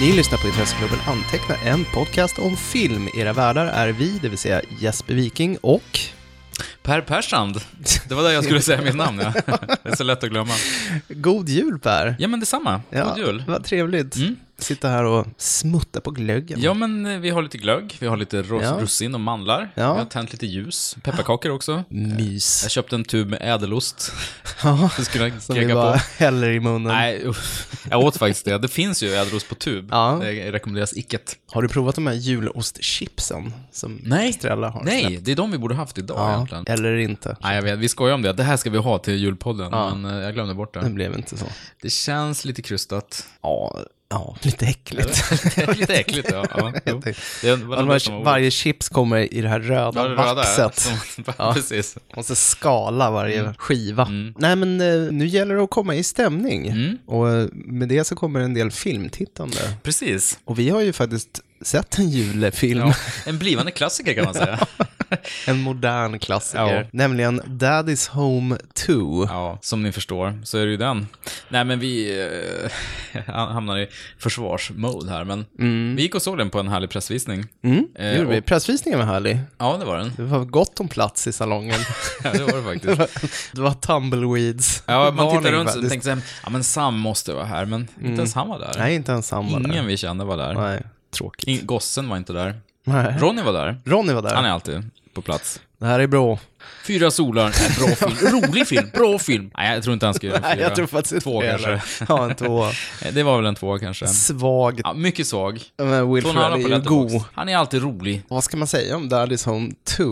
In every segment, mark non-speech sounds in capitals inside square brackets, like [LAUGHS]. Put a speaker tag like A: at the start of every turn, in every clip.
A: Ni lyssnar på Intresseklubben Anteckna, en podcast om film. Era värdar är vi, det vill säga Jesper Viking och...
B: Per Persand. Det var där jag skulle säga mitt namn, ja. Det är så lätt att glömma.
A: God jul Per!
B: Ja, men detsamma. God jul.
A: Vad trevligt.
B: Mm.
A: Sitta här och smutta på glöggen.
B: Ja, men eh, vi har lite glögg, vi har lite ros-
A: Ja.
B: russin och mandlar.
A: Ja.
B: Vi har tänt lite ljus, pepparkakor också. Jag
A: Mys.
B: köpte en tub med ädelost. [LAUGHS]
A: Ja,
B: Det skulle jag
A: som vi
B: keka
A: bara
B: på.
A: häller i munnen.
B: Nej, uff. jag åt faktiskt det. Det finns ju ädelost på tub.
A: Ja.
B: Det rekommenderas icket.
A: Har du provat de här julostchipsen som
B: Nej.
A: Estrella har släppt?
B: Nej, det är de vi borde haft idag
A: Ja,
B: egentligen.
A: eller inte.
B: Nej, jag vet. Vi skojar om det. Det här ska vi ha till julpodden,
A: Ja. Mm.
B: men eh, jag glömde bort
A: Det
B: det.
A: blev inte så.
B: Det känns lite krystat.
A: Ja, ja lite äckligt.
B: [LAUGHS] Det är lite äckligt, ja.
A: [LAUGHS]
B: ja jo. det är,
A: Ja, de här- varje chips kommer i det här
B: Ja,
A: röda
B: det röda, [LAUGHS] ja.
A: vaxet.
B: Som-
A: Ja.
B: Precis.
A: Måste skala varje
B: Mm.
A: skiva. Nej, men eh, nu gäller det att komma i stämning.
B: Mm.
A: Och eh, med det så kommer en del filmtittande.
B: Precis.
A: Och vi har ju faktiskt sett en julefilm.
B: Ja. En blivande klassiker kan man säga.
A: [LAUGHS] En modern klassiker.
B: Ja. Eh,
A: Nämligen Daddy's Home 2.
B: Ja, som ni förstår så är det ju den. Nej, men vi eh, [LAUGHS] hamnar i försvarsmode här, men vi gick och såg den på en härlig pressvisning.
A: Mm, det
B: Eh,
A: gjorde vi.
B: och-
A: Pressvisningen var härlig.
B: Ja, det var den.
A: Det var gott om plats i
B: [LAUGHS]
A: salongen.
B: Ja, det var det faktiskt.
A: det var tumbleweeds.
B: Ja, man tittar
A: Varning
B: runt och
A: faktiskt. Mm.
B: tänkte så här, ja men Sam måste vara här, men inte ens han var där.
A: Nej, inte ens han var där.
B: Ingen vi kände var där.
A: Nej, tråkigt.
B: In, gossen var inte där.
A: Nej.
B: Ronny var där.
A: Ronny var där.
B: Han är alltid på plats.
A: Det här är bra.
B: Fyra solar, en
A: [LAUGHS]
B: bra film. Rolig film, bra film. Nej, jag tror inte han ska göra en fyra.
A: Nej, jag tror faktiskt inte
B: Två
A: det
B: kanske.
A: heller. Ja, en tvåa.
B: Eh, Det var väl en tvåa kanske.
A: Svag.
B: Ja, mycket svag.
A: Men
B: Två och
A: Wilfred
B: en halva
A: är
B: på
A: ju
B: Letterboxd.
A: god.
B: Han är alltid rolig.
A: Vad ska man säga om Daddy's Home 2
B: Ska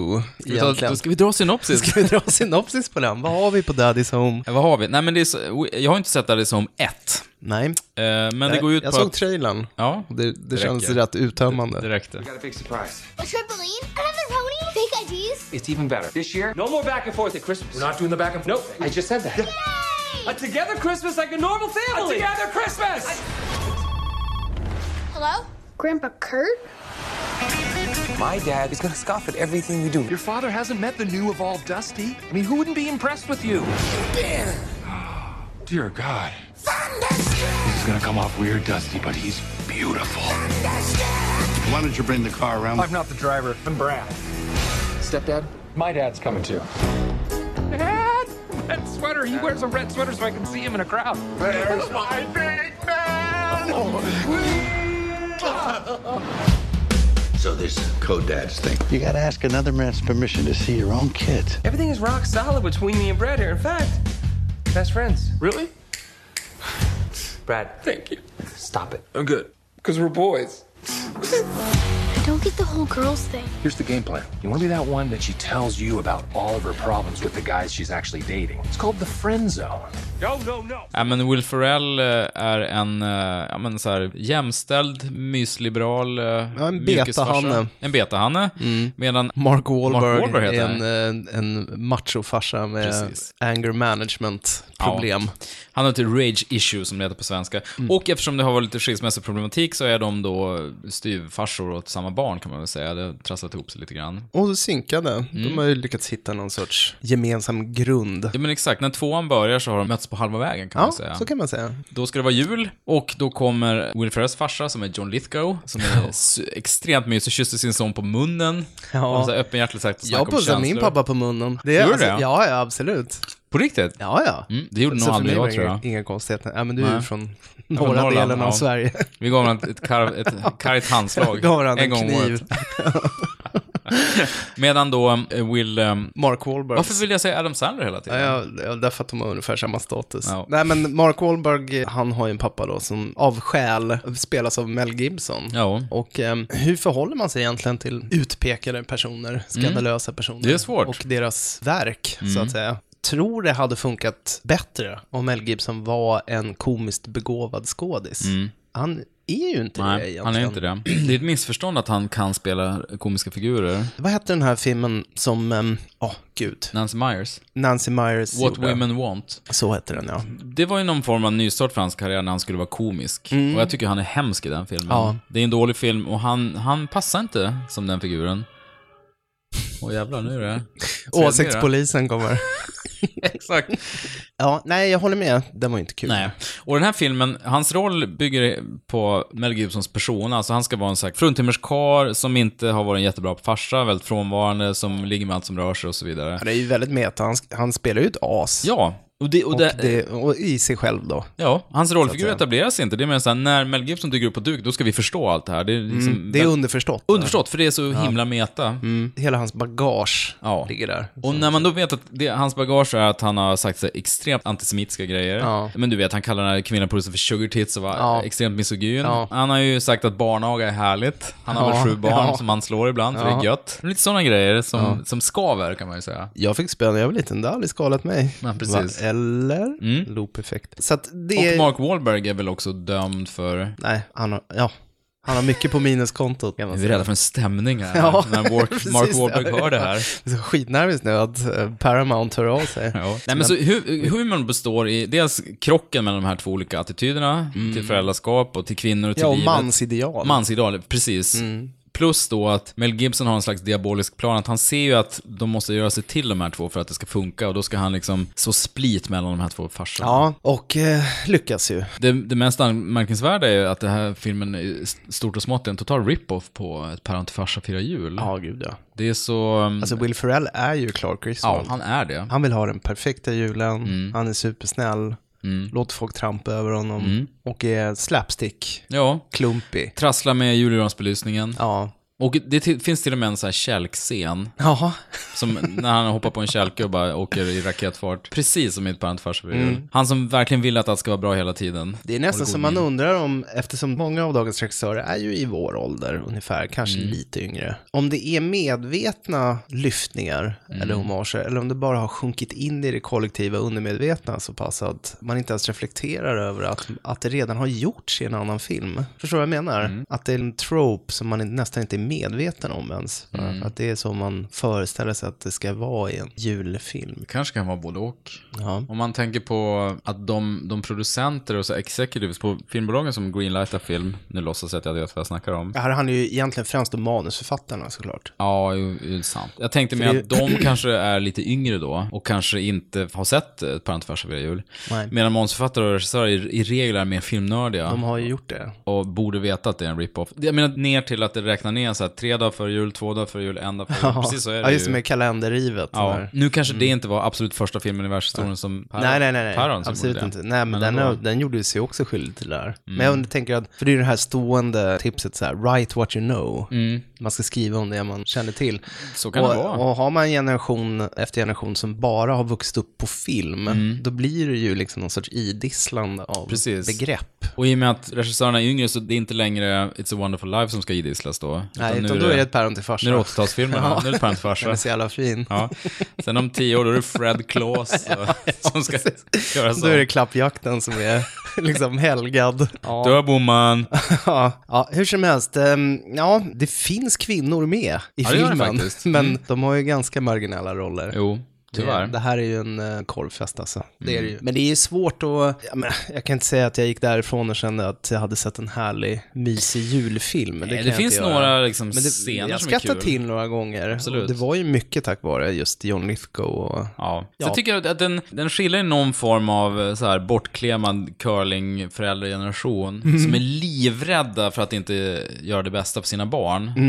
B: vi, ta,
A: egentligen?
B: då ska vi dra synopsis?
A: [LAUGHS] Ska vi dra synopsis på den? Vad har vi på Daddy's Home?
B: Eh, Vad har vi? Nej, men det är så, jag har inte sett det som ett.
A: Nej,
B: Eh, Men det går ut
A: jag
B: på...
A: såg
B: att-
A: trailern.
B: Ja,
A: Det, det känns
B: räcker.
A: rätt uttömmande.
B: det räckte.
C: Gotta fix the prize.
D: A trampoline? Another pony? Fake IDs?
C: It's even better. This year, no more back and forth at Christmas. We're not doing the back and forth. Nope. I just said that.
D: Yay!
C: A together Christmas like a normal family. A together Christmas.
D: Hello? Grandpa Kurt?
C: My dad is gonna scoff at everything we do. Your father hasn't met the new evolved Dusty. I mean, who wouldn't be impressed with you?
E: [GASPS] Dear God. This is gonna come off weird, Dusty, but he's beautiful. Why don't you bring the car around?
C: I'm not the driver. I'm Brad. Stepdad? My dad's coming too. Dad? Red sweater. He wears a red sweater so I can see him in a crowd.
E: There's my big man!
C: Oh.
F: So this is Code Dad's thing.
G: You gotta ask another man's permission to see your own kids.
C: Everything is rock solid between me and Brad here. In fact, best friends. Really? Brad. Thank you. Stop it. I'm good. Because we're boys.
D: I don't get the whole girls thing.
E: Here's the game plan.
C: You want to be that one that she tells you about all of her problems with the guys she's actually dating. It's called the friend zone. No, no, no.
B: Ja, men Will Ferrell eh, är en eh, ja, men så här, jämställd, mysliberal eh,
A: en
B: mjukisfarsa.
A: betahanne. Mm.
B: En betahanne. Medan
A: Mark
B: Mark
A: Wahlberg,
B: Wahlberg
A: är
B: heter
A: en, eh, en machofarsa med
B: Precis.
A: anger management-problem.
B: Han har ett rage issue som det heter på svenska.
A: Mm.
B: Och eftersom det har varit lite skilsmässoproblematik så är de då styvfarsor åt samma barn kan man väl säga. Det har trasslat ihop sig lite grann.
A: Och synkade.
B: Mm.
A: De har ju lyckats hitta någon sorts gemensam grund.
B: Ja men exakt, när tvåan börjar så har de mötts på halva vägen kan
A: Ja,
B: man säga.
A: så kan man säga.
B: Då ska det vara jul och då kommer Will Ferrells farsa som är John Lithgow, som är s- extremt mysig, kysser sin son på munnen.
A: Ja.
B: Och så här öppenhjärtligt sagt och snackar
A: Jag
B: om
A: pussade min
B: känslor.
A: pappa på munnen. Det alltså,
B: Gjorde du det?
A: Ja, ja, absolut.
B: På riktigt?
A: Ja, ja.
B: Mm, det gjorde nog
A: för
B: aldrig
A: mig
B: jag,
A: var det
B: tror
A: inga-
B: jag.
A: Inga konstigheter. Ja, men du är ju
B: Nej.
A: från norra
B: Norrland,
A: delen av
B: ja.
A: Sverige.
B: Vi gav honom ett, karv, ett
A: [LAUGHS]
B: kargt handslag.
A: Gav han en
B: gång om
A: kniv.
B: året. Medan då eh, Will... ehm,
A: Mark Wahlberg.
B: varför vill jag säga Adam Sandler hela tiden?
A: Ja, ja, därför att de har ungefär samma status.
B: Ja.
A: Nej, men Mark Wahlberg, han har ju en pappa då som av skäl spelas av Mel Gibson.
B: Ja.
A: Och eh, hur förhåller man sig egentligen till utpekade personer, skandalösa personer?
B: Mm. Det är svårt. Mm.
A: Och deras verk, så att säga. Tror det hade funkat bättre om Mel Gibson var en komiskt begåvad skådis. Han är ju inte det
B: Mm. Nej,
A: egentligen.
B: han är inte det. Det är ett missförstånd att han kan spela komiska figurer.
A: Vad hette den här filmen som, ja, um, gud,
B: Nancy Myers.
A: Nancy Myers
B: What
A: gjorde?
B: Women Want.
A: Så hette den, ja.
B: Det var ju någon form av nystart för hans karriär när han skulle vara komisk. Och jag tycker han är hemsk i den filmen.
A: Mm. Ja.
B: Det är en dålig film och han, han passar inte som
A: [LAUGHS]
B: den figuren. Åh jävlar, nu är det... Ser jag det?
A: Åsiktspolisen kommer.
B: [LAUGHS] Exakt.
A: Ja, nej, jag håller med. Den var ju inte kul.
B: Nej. Och den här filmen, hans roll bygger på Mel Gibsons person. Alltså han ska vara en så här fruntimmerskarl som inte har varit en jättebra farsa, väldigt frånvarande, som ligger med allt som rör sig och så vidare.
A: Ja, Det är ju väldigt meta. Han, han spelar ju ett as.
B: Ja, och det...
A: Och,
B: det,
A: det, och i sig själv då.
B: Ja, hans rollfigur
A: Så att säga.
B: etableras inte. Det är mer såhär, när Mel Gibson dyker upp på duk, då ska vi förstå allt det här. Det är, liksom,
A: Mm. Det är Mm. underförstått.
B: underförstått, för det är så himla meta.
A: Hela hans bagage
B: Ja.
A: ligger där.
B: Och när man då vet att det, hans bagage är att han har sagt så här extremt antisemitiska grejer.
A: Ja.
B: Men du vet, han kallar den här kvinnan polisen för sugar tits och var
A: Ja.
B: extremt misogyn.
A: Ja.
B: Han har ju sagt att barnaga är härligt. Han har
A: Ja.
B: väl sju barn
A: Ja.
B: som han slår ibland, för det är gött. Lite sådana grejer som, som skaver, kan man ju säga.
A: Jag fick spö när jag var liten, det har aldrig skalat mig.
B: Ja, precis. Mm.
A: Va? Eller? Loop-effekt. Så att det...
B: Och Mark Wahlberg är väl också dömd för...
A: Nej, han har, ja, han har mycket på minuskontot kan man
B: Vi är
A: säga.
B: rädda för en stämning här,
A: Ja,
B: när
A: [LAUGHS]
B: Mark,
A: precis.
B: Mark Wahlberg
A: Ja,
B: hör
A: [LAUGHS]
B: det här.
A: Jag är så skitnervis nu att eh, Paramount hör av sig.
B: Ja. Nej, men så hu humorn består i dels krocken mellan de här två olika attityderna, till föräldraskap och till kvinnor och till
A: Mm. Ja, och Mm.
B: livet.
A: mansideal.
B: Mansideal, precis. Plus då att Mel Gibson har en slags diabolisk plan, att han ser ju att de måste göra sig till de här två för att det ska funka och då ska han liksom så split mellan de här två farsorna.
A: Ja, och eh, lyckas ju.
B: Det, det mest anmärkningsvärda är ju att den här filmen, är stort och smått, är en total rip-off på Ett päron till farsa firar jul.
A: Ja, gud ja.
B: Det är så...
A: Alltså Will Ferrell är ju Clark
B: Mm. ja, Mm.
A: Griswold.
B: han är det.
A: Han vill ha den perfekta julen, han är supersnäll,
B: Mm.
A: låter folk trampa över honom och är slapstick,
B: Ja.
A: klumpig.
B: Trasslar med julgransbelysningen.
A: Ja.
B: Och det till, finns till och med en sån här kälkscen,
A: Jaha.
B: som [LAUGHS] när han hoppar på en kälke och bara åker i raketfart. Precis som i ett parent farsa mm. Han som verkligen vill att allt ska vara bra hela tiden.
A: Det är nästan som man undrar om, eftersom många av dagens regissörer är ju i vår ålder ungefär, kanske lite yngre. Om det är medvetna lyftningar eller homager, eller om det bara har sjunkit in i det kollektiva undermedvetna så pass att man inte ens reflekterar över att, att det redan har gjorts i en annan film. Förstår du vad jag menar? Att det är en trope som man nästan inte är medveten om ens. Att det är så man föreställer sig att det ska vara i en julfilm.
B: kanske kan vara både och.
A: Ja.
B: Om man tänker på att de, de producenter och så här executives på filmbolagen som greenlightar film, nu låtsas jag att jag vet vad jag snackar om.
A: Det här handlar ju egentligen främst om manusförfattarna såklart.
B: Ja, ju, ju, sant. Jag tänkte mer
A: det-
B: att de kanske är lite yngre då och kanske inte har sett ett parent farsa firar jul.
A: Nej.
B: Medan manusförfattare och regissörer i, i regel är mer filmnördiga.
A: De har ju gjort det.
B: och borde veta att det är en rip-off. Jag menar ner till att det räknar ner så här, tre dagar före jul, två dagar före jul, en dag före jul. Precis så är det
A: [LAUGHS] ja, just
B: ju.
A: det med kalenderrivet.
B: Ja.
A: Ja.
B: Nu kanske det inte var absolut första filmen i världshistorien som Per-
A: Nej, nej, nej, nej.
B: Päron som
A: absolut
B: gjorde det.
A: inte. Nej, men,
B: Men
A: den,
B: ändå. Mm.
A: har- den gjorde ju sig också skyldig till det här. Men jag undrar- tänker att, för det är ju det här stående tipset så här, write what you know. Man ska skriva om det man känner till.
B: Mm. Så kan
A: och,
B: det vara.
A: Och har man generation efter generation som bara har vuxit upp på film, då blir det ju liksom någon sorts idisslande av
B: Mm. Precis.
A: begrepp.
B: Och i och med att regissörerna är yngre så det är inte längre It's a wonderful life som ska idisslas då. Utan
A: Nej, utan då är det ett päron till
B: Nu är det
A: farsa.
B: 80-talsfilmer, ja. nu är det Parent
A: Den [LAUGHS]
B: farsa.
A: är så jävla fin.
B: Ja. Sen om tio år då är det Fred
A: [LAUGHS]
B: Claus eh, som ska göra så.
A: Då är det klappjakten som är [LAUGHS] liksom helgad. Ja. [LAUGHS]
B: Dö bomman!
A: Ja, ja, hur som helst. ehm, Ja, det finns kvinnor med i
B: Ja, det gör det
A: filmen.
B: faktiskt. Mm.
A: Men de har ju ganska marginella roller.
B: Jo, tyvärr. Mm.
A: Det, det här är ju en eh, korvfest alltså. Det är det ju. Men det är ju svårt att... Jag, menar, jag kan inte säga att jag gick därifrån och kände att jag hade sett en härlig, mysig julfilm. Det,
B: Nej,
A: kan
B: det
A: jag
B: finns
A: inte göra.
B: några liksom,
A: Men det,
B: scener
A: jag
B: som är kul.
A: skrattade till några gånger.
B: Absolut.
A: Och Det var ju mycket tack vare just John Lithgow och...
B: Ja.
A: Ja.
B: Sen tycker jag att den, den skiljer någon form av eh, så här, bortklemad curlingföräldrageneration
A: Mm.
B: som är livrädda för att inte göra det bästa för sina barn. Till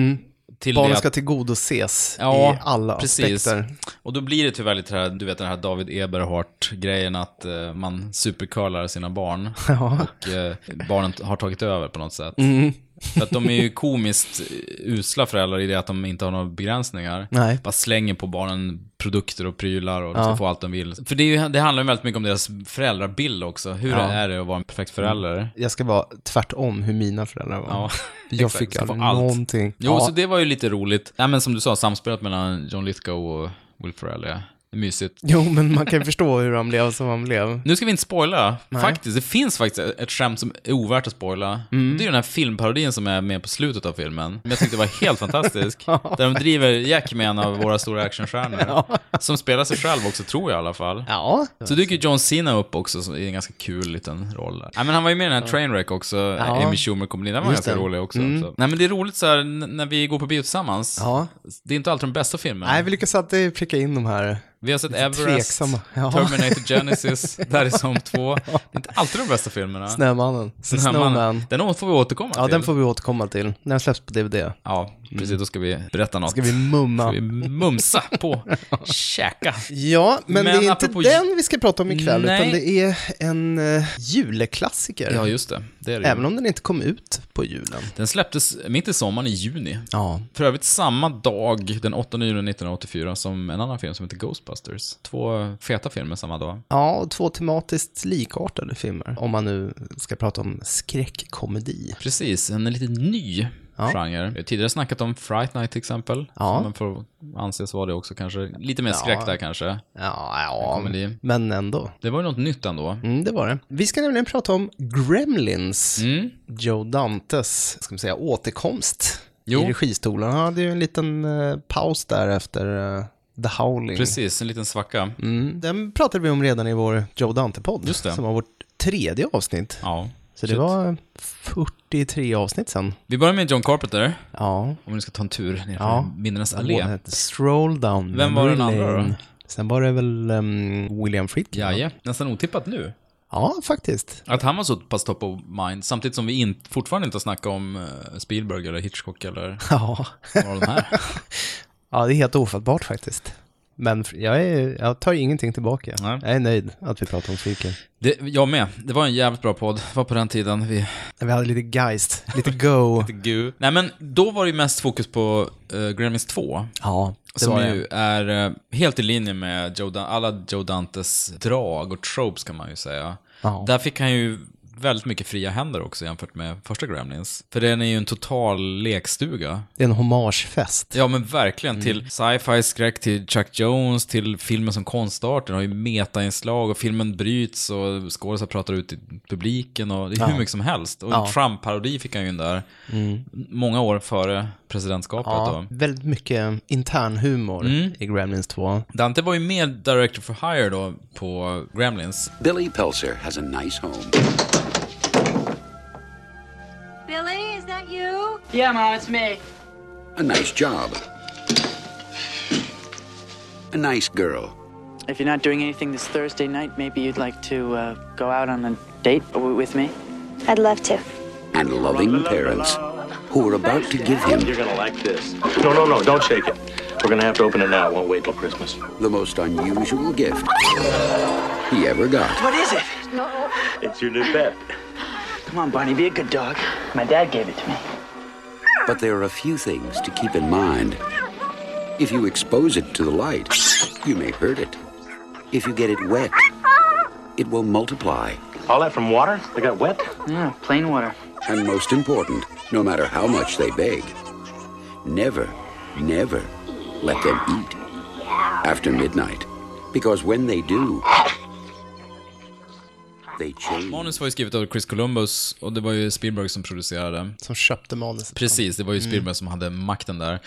B: det
A: Mm. Barnen
B: att-
A: ska tillgodoses
B: Ja,
A: i alla
B: precis.
A: aspekter.
B: Och då blir det tyvärr lite det här, du vet den här David Eberhardt-grejen att eh, man supercurlar
A: [LAUGHS]
B: sina barn. Och eh, barnen t- har tagit över på något sätt.
A: Mm.
B: För att de är ju komiskt eh, usla föräldrar i det att de inte har några begränsningar.
A: Nej.
B: Bara slänger på barnen produkter och prylar och de ska få allt de vill. För det, är ju, det handlar ju väldigt mycket om deras föräldrabild också. Hur är det att vara en perfekt förälder?
A: Jag ska vara tvärtom hur mina föräldrar var.
B: Ja, [LAUGHS]
A: Jag
B: exakt.
A: fick
B: Ska få
A: aldrig
B: allt.
A: någonting.
B: Jo,
A: ja.
B: så det var ju lite roligt. Nej, men som du sa, samspelet mellan John Lithgow och Will Ferrell är mysigt.
A: [LAUGHS] jo, men man kan ju förstå hur han blev som han blev.
B: Nu ska vi inte spoila. Faktiskt, det finns faktiskt ett skämt som är ovärt att spoila.
A: Mm.
B: Det är ju den här filmparodin som är med på slutet av filmen. Men jag tyckte det var
A: [LAUGHS]
B: helt fantastisk. Där de driver Jack med en av våra stora actionstjärnor. Som spelar sig själv också, tror jag i alla fall.
A: Ja.
B: Så dyker John Cena upp också som- i en ganska kul liten roll där. Nej, men han var ju med i den här Trainwreck också, Amy Schumer kom in, den var
A: Just
B: ganska
A: det. Mm.
B: rolig också. Så. Nej men det är roligt så här, n- när vi går på bio tillsammans,
A: Ja.
B: det är inte alltid de bästa filmerna.
A: Nej, vi lyckas alltid pricka in de här
B: Vi har sett
A: Lite
B: Everest,
A: tveksamma, ja.
B: Terminator
A: [LAUGHS]
B: Genesis, Daddy 2. Det är inte alltid de bästa filmerna.
A: Snömannen. The
B: Snömannen.
A: Snowman.
B: Den får vi återkomma
A: Ja,
B: till.
A: den får vi återkomma till. När den släpps på DVD.
B: Ja, precis. Då ska vi berätta något.
A: Ska vi mumma.
B: Ska vi mumsa på,
A: [LAUGHS]
B: käka.
A: Ja, men,
B: Men
A: det är inte
B: apropå-
A: den vi ska prata om ikväll, utan
B: Nej.
A: det är en eh, juleklassiker.
B: Ja, just det. det, är det ju.
A: Även om den inte kom ut på julen.
B: Den släpptes mitt i sommaren i juni.
A: Ja.
B: För övrigt samma dag, den 8 juni 1984, som en annan film som heter Ghostbusters. Två feta filmer samma dag.
A: Ja, och två tematiskt likartade filmer. Om man nu ska prata om skräckkomedi.
B: Precis, en lite ny
A: Ja.
B: genre. Vi har tidigare snackat om Fright Night till exempel.
A: Ja.
B: Som man får anses vara det också kanske. Lite mer skräck där kanske.
A: Ja, ja
B: Komedi.
A: men ändå.
B: Det var ju något nytt ändå.
A: Mm, det var det. Vi ska nämligen prata om Gremlins.
B: Mm.
A: Joe Dantes, ska man säga, återkomst
B: Jo.
A: i registolen. Han hade ju en liten eh, paus där efter eh, The Howling.
B: Precis, en liten svacka.
A: Mm, den pratade vi om redan i vår Joe Dante-podd,
B: Just det.
A: som var vårt tredje avsnitt.
B: Ja.
A: Så det
B: Shit.
A: var 43 avsnitt sen.
B: Vi börjar med John Carpenter,
A: Ja.
B: om vi ska ta en tur ner
A: Ja.
B: för minnenas allé.
A: Stroll down
B: Vem var
A: memory
B: den andra då?
A: lane. Sen var det väl ehm, William Friedkin? va?
B: Ja, ja. Nästan otippat nu.
A: ja, faktiskt. [LAUGHS]
B: Att han var så pass top of mind, samtidigt som vi in, fortfarande inte har snackat om eh, Spielberg eller Hitchcock eller
A: Ja.
B: några av
A: [LAUGHS]
B: de här.
A: ja, det är helt ofattbart faktiskt. Men fr- jag, är, jag tar ingenting tillbaka.
B: Nej.
A: Jag är nöjd att vi pratar om Friedkin.
B: Det, jag med. Det var en jävligt bra podd. Det var på den tiden vi
A: Vi hade lite geist, [LAUGHS] lite go.
B: Gu. Nej men då var det ju mest fokus på uh, Gremlins 2.
A: ja, det
B: som
A: var det.
B: ju är eh, helt i linje med Joe Dan- alla Joe Dantes drag och tropes kan man ju säga.
A: Ja.
B: Där fick han ju väldigt mycket fria händer också jämfört med första Gremlins. För den är ju en total lekstuga.
A: Det är en hommagefest.
B: Ja men verkligen, till sci-fi, skräck, till Chuck Jones, till filmen som konstart. Den har ju metainslag och filmen bryts och skådisar pratar ut i publiken och det är hur mycket som helst. Och en Trump-parodi fick han ju in där. Många år före presidentskapet
A: Ja, Mm.
B: då.
A: väldigt mycket intern humor i Gremlins 2.
B: Dante var ju mer director for hire då på Gremlins.
H: Billy Pelzer has a nice home.
I: Billy, is that you?
J: Yeah, Mom, it's me.
H: a nice job, a nice girl.
J: If you're not doing anything this Thursday night, maybe you'd like to uh, go out on a date w- with me?
D: I'd love to.
H: and loving parents who were about to give him
K: You're gonna like this. No, no, no, don't shake it. We're gonna have to open it now. It won't wait till Christmas.
H: the most unusual gift he ever got.
J: What is it?
K: It's your new pet.
J: Come on, Barney, be a good dog. My dad gave it to me.
H: But there are a few things to keep in mind. If you expose it to the light, you may hurt it. If you get it wet, it will multiply.
K: All that from water? They got wet?
J: Yeah, plain water.
H: And most important, no matter how much they beg, never, never let them eat after midnight. Because when they do, they change.
B: Manus var ju skrivet av Chris Columbus och det var ju Spielberg som producerade.
A: Som köpte manuset.
B: Precis, det var ju Spielberg som hade makten där.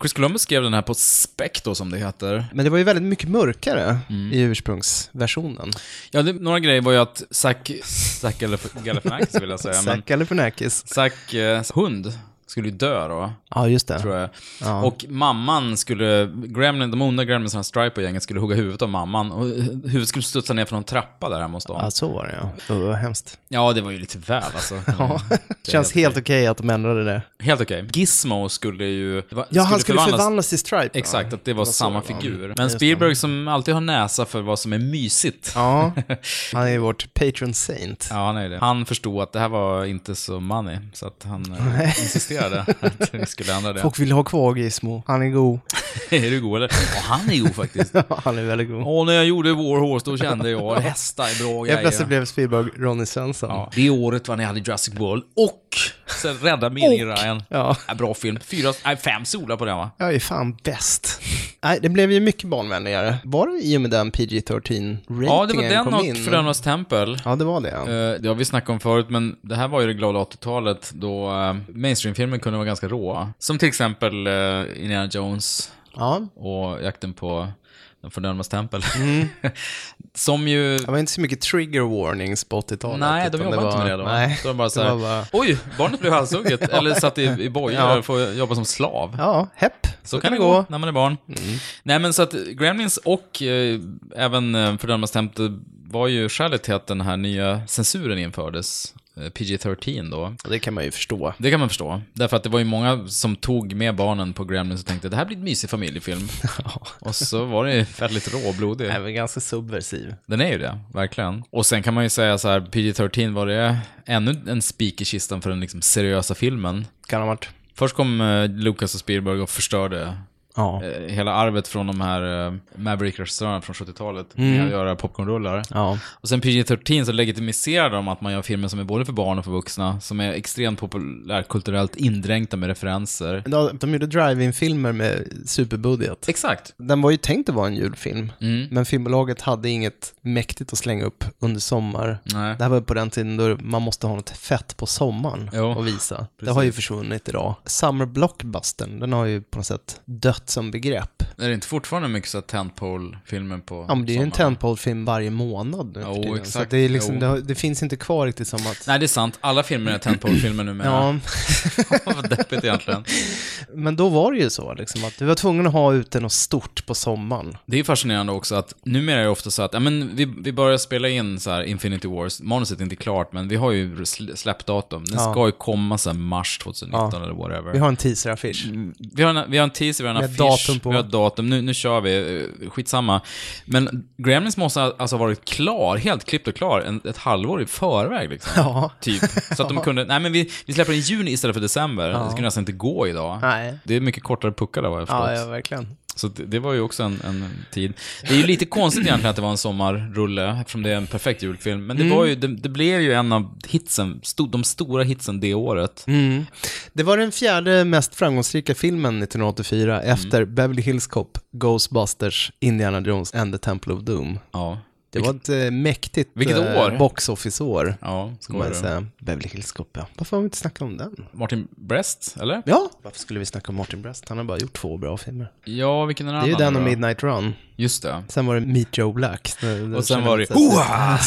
B: Chris Columbus skrev den här på spec då som det heter.
A: Men det var ju väldigt mycket mörkare i ursprungsversionen.
B: Ja, det, några grejer var ju att Zack,
A: [LAUGHS]
B: Zack Galif- Galifianakis vill jag säga, men
A: Zack Galifianakis.
B: Zack eh, hund skulle ju dö då,
A: Ja, just det.
B: tror jag. Och mamman skulle, Gremlin, de onda Gremlinsarna, Stripe och gänget skulle hugga huvudet av mamman och eh, huvudet skulle studsa ner från en trappa där hemma hos dem.
A: Ja, så var det ja. Det var hemskt.
B: Ja, det var ju lite väl alltså.
A: [LAUGHS] Ja. Känns helt okej att de ändrade det.
B: Helt okej. Gizmo skulle ju... va-
A: Ja, han skulle förvandlas till Stripe. ja.
B: Exakt, att det var samma
A: så, ja.
B: figur. Men Spielberg som alltid har näsa för vad som är mysigt.
A: [LAUGHS] Ja, han är ju vårt patron saint.
B: Ja, han är ju det. Han förstod att det här var inte så money, så att han eh, insisterade att vi skulle ändra det.
A: Folk vill ha kvar Gizmo. Han är god.
B: [LAUGHS] är du god eller? Ja, han är
A: [LAUGHS]
B: god faktiskt.
A: han är väldigt god.
B: Och när jag gjorde War Horse, då kände jag att hästar är bra
A: Jag
B: grejer.
A: plötsligt blev Spielberg Ronny Svensson.
B: Ja. Det året var när jag hade Jurassic World och sen Rädda Mini-Ryan.
A: Ja.
B: Bra film. Fyra, nej, fem solar på den va?
A: Jag är fan bäst. Nej, det blev ju mycket barnvänligare. Var det i och med den PG-13-ratingen
B: Ja, det var den
A: kom
B: och
A: in?
B: Frönas Tempel.
A: Ja, det var det. ja.
B: Eh, Det har vi snackat om förut, men det här var ju det glada 80-talet då eh, mainstreamfilmer kunde vara ganska råa. Som till exempel eh, Indiana Jones
A: Ja,
B: och jakten på Den fördömdes tempel. [LAUGHS] Som ju...
A: Det var inte så mycket trigger warnings på 80-talet.
B: Nej, de
A: utan
B: jobbade inte
A: var-
B: med det då.
A: Nej,
B: De var bara så här,
A: det var bara-
B: oj, barnet blev [LAUGHS] halshugget. Eller satt i, i bojor
A: Ja.
B: och får jobba som slav.
A: Ja, hepp.
B: Så, kan det gå, Mm. när man är barn. Nej, men så att Gremlins och eh, även eh, Fördömas tempel var ju skälet till att den här nya censuren infördes. eh, PG-13 då.
A: Det kan man ju förstå.
B: Det kan man förstå. Därför att det var ju många som tog med barnen på Gremlins och tänkte det här blir en mysig [LAUGHS] familjefilm. och så var det ju väldigt råblodig.
A: Nej, men ganska subversiv.
B: Den är ju det, verkligen. Och sen kan man ju säga så här, PG-13 var det ännu en spik i kistan för den liksom seriösa filmen.
A: Kan ha varit.
B: Först kom eh, Lucas och Spielberg och förstörde
A: Ja.
B: eh, hela arvet från de här eh, Maverick-restaurörerna från 70-talet med
A: Mm.
B: att göra popcornrullar.
A: Ja.
B: Och sen PG-13 så legitimiserar de att man gör filmer som är både för barn och för vuxna, som är extremt populärkulturellt indränkta med referenser.
A: De, de gjorde drive-in-filmer med superbudget.
B: Exakt.
A: Den var ju tänkt att vara en julfilm,
B: Mm.
A: men filmbolaget hade inget mäktigt att slänga upp under sommar.
B: Nej.
A: Det här var på den tiden då man måste ha något fett på sommaren
B: Jo,
A: att visa. Det
B: precis.
A: har ju försvunnit idag. Summer blockbustern, den har ju på något sätt dött som begrepp.
B: Är det inte fortfarande mycket så här tentpole-filmer på
A: Ja, men det är ju en
B: sommaren?
A: tentpole-film varje månad nu för
B: Jo,
A: tiden. Så
B: exakt.
A: att det, är liksom,
B: Jo.
A: det, har, det finns inte kvar riktigt som att...
B: Nej, det är sant. Alla filmer är tentpole-filmer numera.
A: Ja.
B: [LAUGHS] Vad deppigt egentligen.
A: Men då var det ju så, liksom, att du var tvungen att ha ute något stort på sommaren.
B: Det är fascinerande också att numera är det ofta så att ja, men vi, vi börjar spela in så här Infinity Wars, manuset är inte klart men vi har ju sl- släppdatum. Den
A: Ja.
B: ska ju komma så här mars 2019 eller whatever.
A: Vi har en teaser-affisch.
B: Vi har, en, vi har en teaser, vi har en
A: Med
B: affisch,
A: datum på.
B: vi har ett datum, nu, nu kör vi, eh, skitsamma. Men Gremlins måste ha- alltså ha varit klar, helt klippt och klar, en, ett halvår i förväg liksom.
A: [LAUGHS] Ja.
B: Typ. Så att de kunde, nej men vi, vi släpper den i juni istället för december, det skulle nästan inte gå idag.
A: Nej.
B: Det är mycket kortare puckar där vad jag
A: Ja,
B: förstått.
A: ja, verkligen.
B: Så det, det var ju också en, en tid. Det är ju lite konstigt egentligen att det var en sommarrulle, eftersom det är en perfekt julfilm. Men det, var ju, det, det blev ju en av hitsen, sto, de stora hitsen det året.
A: Mm. Det var den fjärde mest framgångsrika filmen 1984 efter
B: Mm.
A: Beverly Hills Cop, Ghostbusters, Indiana Jones and the Temple of Doom.
B: Ja.
A: Det var ett eh, mäktigt
B: Vilket
A: eh,
B: år?
A: box office-år.
B: Ja,
A: Ska man
B: skojar du?
A: säga. Beverly Hills Cop, ja. Varför har vi inte snackat om den?
B: Martin Brest, eller?
A: Ja, varför skulle vi snacka om Martin Brest? Han har bara gjort två bra filmer.
B: Ja, vilken är den
A: Det är ju
B: andra
A: den och
B: då?
A: Midnight Run.
B: Just det. [LAUGHS]
A: Sen var det Meet Joe Black.
B: Och sen var det... Hoa!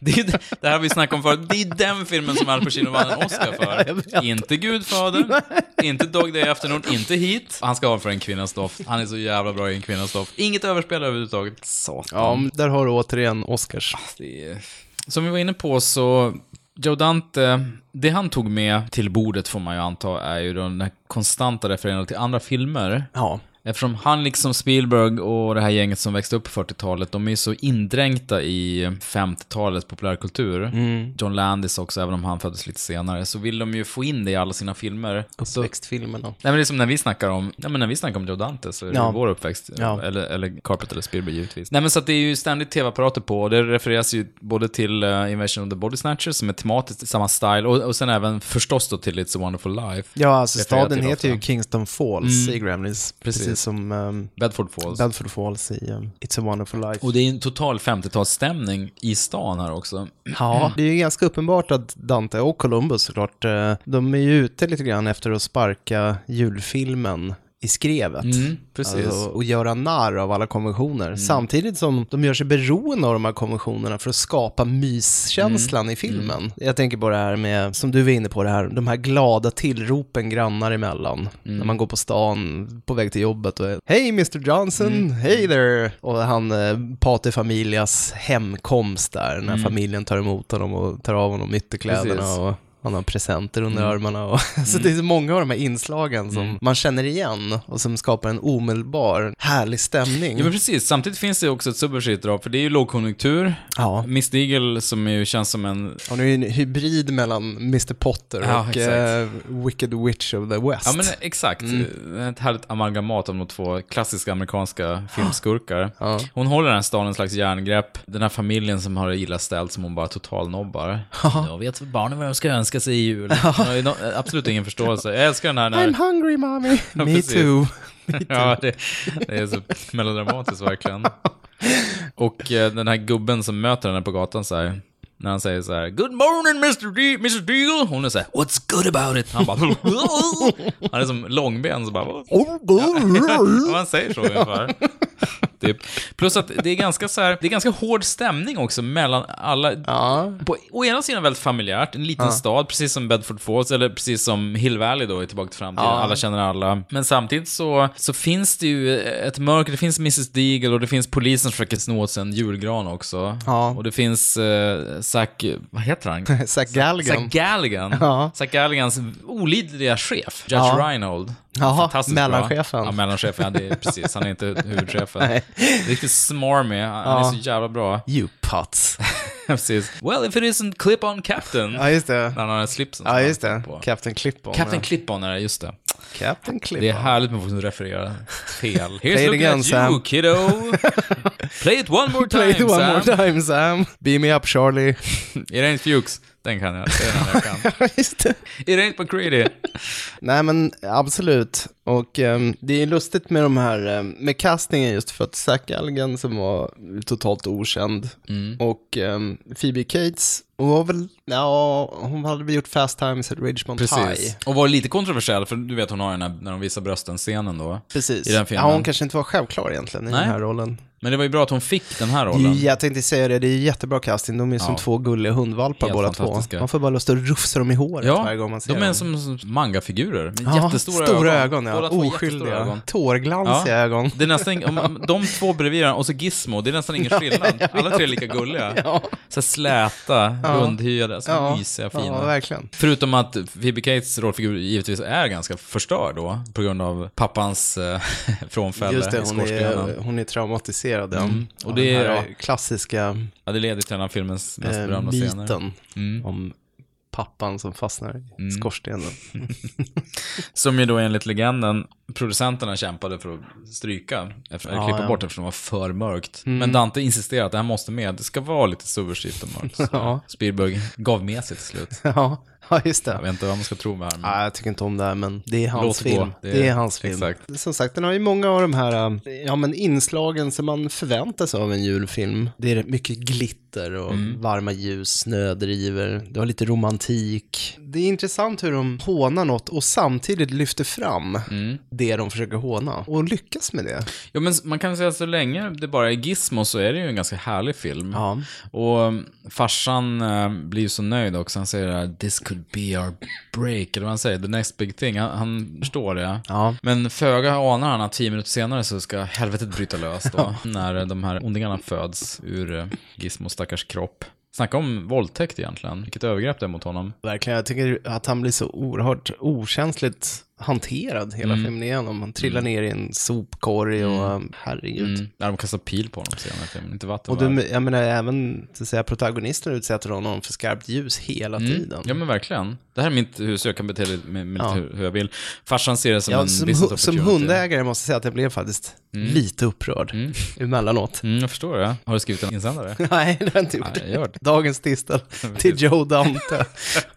B: det, är, det här har vi snackat om förut. Det är den filmen som Al Pacino vann en Oscar
A: [LAUGHS]
B: för. Inte Gudfadern, inte Dog Day Afternoon, inte Heat. Han ska ha för En kvinnas doft. Han är så jävla bra i En kvinnas doft. Inget överspel överhuvudtaget. Satan.
A: Ja, men där har du återigen Oscars.
B: Det är... Som vi var inne på så, Joe Dante, det han tog med till bordet får man ju anta är ju den här konstanta referensen till andra filmer.
A: Ja.
B: Eftersom han liksom Spielberg och det här gänget som växte upp på 40-talet, de är ju så indränkta i 50-talets populärkultur. John Landis också, även om han föddes lite senare, så vill de ju få in det i alla sina filmer. Så, nej
A: Uppväxtfilmerna.
B: men det är som när vi snackar om, nej men när vi snackar om Joe Dante så är det
A: Ja.
B: ju vår uppväxt.
A: Ja.
B: Eller, eller Carpet eller Spielberg givetvis. Nej men så att det är ju ständigt tv-apparater på och det refereras ju både till eh, Invasion of the Body Snatchers som är tematiskt i samma style och, och sen även förstås då till It's a Wonderful Life.
A: Ja, alltså
B: Refererar
A: staden
B: till
A: heter ju
B: ofta.
A: Kingston Falls i Gremlins. Precis,
B: Precis.
A: som ehm,
B: Bedford Falls.
A: Bedford Falls i ehm, It's a wonderful life.
B: Och det är en total 50-talsstämning i stan här också.
A: ja, Mm. det är ju ganska uppenbart att Dante och Columbus såklart, eh, de är ju ute lite grann efter att sparka julfilmen i skrevet.
B: Mm, precis. Mm.
A: Alltså, och göra narr av alla konventioner. Samtidigt som de gör sig beroende av de här konventionerna för att skapa myskänslan
B: Mm.
A: i filmen. Jag tänker på det här med, som du var inne på, det här, de här glada tillropen grannar emellan.
B: Mm.
A: När man går på stan på väg till jobbet och är, Hej Mr Johnson,
B: Mm.
A: hej there! Och han, eh, pater familias hemkomst där, när familjen tar emot honom och tar av honom ytterkläderna.
B: Mm. Precis.
A: Och, han har presenter under
B: Mm.
A: armarna och [LAUGHS] så det är så många av de här inslagen som man känner igen och som skapar en omedelbar härlig stämning.
B: Ja men precis, samtidigt finns det också ett subversivt drag, för det är ju lågkonjunktur.
A: Ja.
B: Miss Diggle som ju känns som en...
A: Han är ju en hybrid mellan Mr Potter
B: Ja,
A: och
B: exakt.
A: eh, Wicked Witch of the West.
B: Ja men exakt, ett härligt amalgamat av de två klassiska amerikanska filmskurkar.
A: Ja.
B: Hon håller den här staden i en slags järngrepp, den här familjen som har det illa ställt som hon bara totalnobbar. Jag vet barnen vad de ska önska sig i jul. Hon har ju no- absolut ingen förståelse. Jag älskar den här när...
A: I'm hungry mommy, me
B: precis.
A: too.
B: [LAUGHS] Ja, det, det är så melodramatiskt verkligen. Och eh, den här gubben som möter henne på gatan så här. När han säger så här, Good morning Mr. De- Mrs. Deagle. Hon är så här, What's good about it? Han bara, [LAUGHS]
A: [LAUGHS]
B: Han är som långben så bara, "Vad?" Ja, Han säger så ungefär. [LAUGHS] typ. Plus att det är ganska så här, det är ganska hård stämning också mellan alla. På, å ena sidan väldigt familjärt, en liten
A: Ja.
B: stad, precis som Bedford Falls, eller precis som Hill Valley då i Tillbaka till framtiden.
A: Ja.
B: Alla känner alla. Men samtidigt så, så finns det ju ett mörker, det finns Mrs Deagle och det finns polisen som försöker sno åt sig en julgran också. Och det finns eh, Zack, vad heter han?
A: Zack Galligan.
B: Zack Galligan.
A: Ja.
B: Zack Galligans olidliga chef, Judge
A: Ja.
B: Reinhold.
A: Jaha,
B: Fantastiskt bra.
A: mellanchefen.
B: Ja, mellanchefen. Ja, det är precis. Han är inte huvudchefen.
A: Nej.
B: Riktigt smarmy. Han han
A: Ja.
B: är så jävla bra. [LAUGHS]
A: You putz.
B: precis. Well, if it isn't Clip-On Captain.
A: Ja, just det.
B: När han har slipsen. som
A: Ja,
B: han
A: just
B: har
A: det.
B: på.
A: Captain Clip-On.
B: Captain Clip-On är det, just det.
A: Captain Clip-On.
B: Det är härligt med folk som refererar
A: [LAUGHS]
B: fel.
A: Play it
B: Here's looking
A: again,
B: at you,
A: Sam. [LAUGHS]
B: kiddo. Play it one more time,
A: Play it one
B: Sam.
A: more time, Sam. Beam me up, Charlie. [LAUGHS]
B: It ain't Fuchs. Den kan jag. Det är den enda jag kan. It ain't McCready.
A: Nej, men absolut. Och ehm, det är ju lustigt med de här, ehm, med castingen just för att Zac Galgen som var totalt okänd
B: Mm.
A: och ehm, Phoebe Cates, hon var väl, ja, hon hade väl gjort Fast Times at Ridgemont High.
B: Precis. Och var lite kontroversiell, för du vet hon har den här, när de visar brösten-scenen då.
A: Precis.
B: I den filmen.
A: Ja, hon kanske inte var självklar egentligen i
B: Nej.
A: den här rollen.
B: Men det var ju bra att hon fick den här
A: Det är,
B: rollen.
A: ju- jag tänkte säga det, det är ju jättebra casting. De är som
B: Ja.
A: två gulliga hundvalpar
B: Helt
A: båda två.
B: fantastiska.
A: Man får bara lust att rufsa dem i håret varje gång man ser
B: de är
A: dem.
B: som som mangafigurer. Med
A: Ja,
B: jättestora
A: stora ögon,
B: ögon.
A: ja.
B: Båda två
A: Oskyldiga.
B: jättestora ögon.
A: Tårglansiga ögon.
B: Det är nästan, om, om de två bredvid varandra, och så Gizmo, det är nästan ingen
A: Ja,
B: skillnad.
A: jag
B: Alla tre är
A: vet.
B: lika gulliga.
A: Ja.
B: Så här släta,
A: Ja.
B: rundhyade, så
A: Ja.
B: mysiga, fina.
A: Ja, verkligen.
B: Förutom att Phoebe Cates rollfigur givetvis är ganska förstörd då, på grund av pappans eh, [LAUGHS] frånfälle
A: Just det,
B: i
A: hon
B: skorstenen.
A: är, hon är traumatiserad. ja.
B: Mm. Och
A: Av
B: det
A: den
B: är-
A: här
B: ja.
A: klassiska
B: Ja, det leder till en av filmens mest
A: eh,
B: berömda scener.
A: myten
B: Mm.
A: om pappan som fastnar i
B: [LAUGHS]
A: skorstenen.
B: Som ju då enligt legenden producenterna kämpade för att stryka, efter, eller
A: Ja,
B: klippa
A: ja.
B: bort eftersom det var för mörkt.
A: Mm.
B: Men Dante insisterar att det här måste med, det ska vara lite subversivt och mörkt. Så
A: [LAUGHS] Ja.
B: Spielberg gav med sig till slut.
A: ja. ja, just det.
B: Jag vet inte vad man ska tro med det här. men-
A: Nej, jag tycker inte om det här, men det är hans
B: Låt gå.
A: film.
B: Det
A: Det
B: är-
A: är, hans film.
B: exakt.
A: Som sagt, den har ju många av de här eh, ja, men inslagen som man förväntar sig av en julfilm. Det är rätt mycket glitter och
B: Mm.
A: varma ljus, snödrivor, du har lite romantik. Det är intressant hur de hånar något och samtidigt lyfter fram
B: Mm.
A: det de försöker håna och lyckas med det.
B: Ja, men man kan säga att så länge det bara är Gizmo så är det ju en ganska härlig film. Och um, farsan eh, blir ju så nöjd också. Han säger det här, this could be our break, eller vad han säger, the next big thing. Han, han förstår det.
A: Ja.
B: Men föga anar han att tio minuter senare så ska helvetet bryta lös då. [LAUGHS] när eh, de här ondingarna föds ur eh, Gizmos stackars kropp. Snacka om våldtäkt egentligen. Vilket övergrepp det är mot honom.
A: Verkligen, jag tycker att han blir så oerhört okänsligt hanterad hela
B: Mm.
A: filmen igenom. Han trillar ner i en sopkorg och eh, herregud.
B: Mm. När de kastar pil på honom senare i filmen. Inte vatten
A: Och du,
B: va?
A: jag menar även, så att säga, protagonisten utsätter honom för skarpt ljus hela tiden.
B: Mm. Ja men verkligen. Det här är mitt hus, jag kan bete mig med, med
A: Ja.
B: hur, hur jag vill. Farsan ser det som
A: Ja,
B: en
A: som,
B: business
A: hu-
B: opportunity.
A: som hundägare måste jag säga att jag blev faktiskt lite upprörd emellanåt.
B: Mm, jag förstår det. Har du skrivit en insändare?
A: [LAUGHS] Nej, det har jag inte gjort.
B: Nej, gör det.
A: Dagens
B: [LAUGHS]
A: tisdag till Joe Dante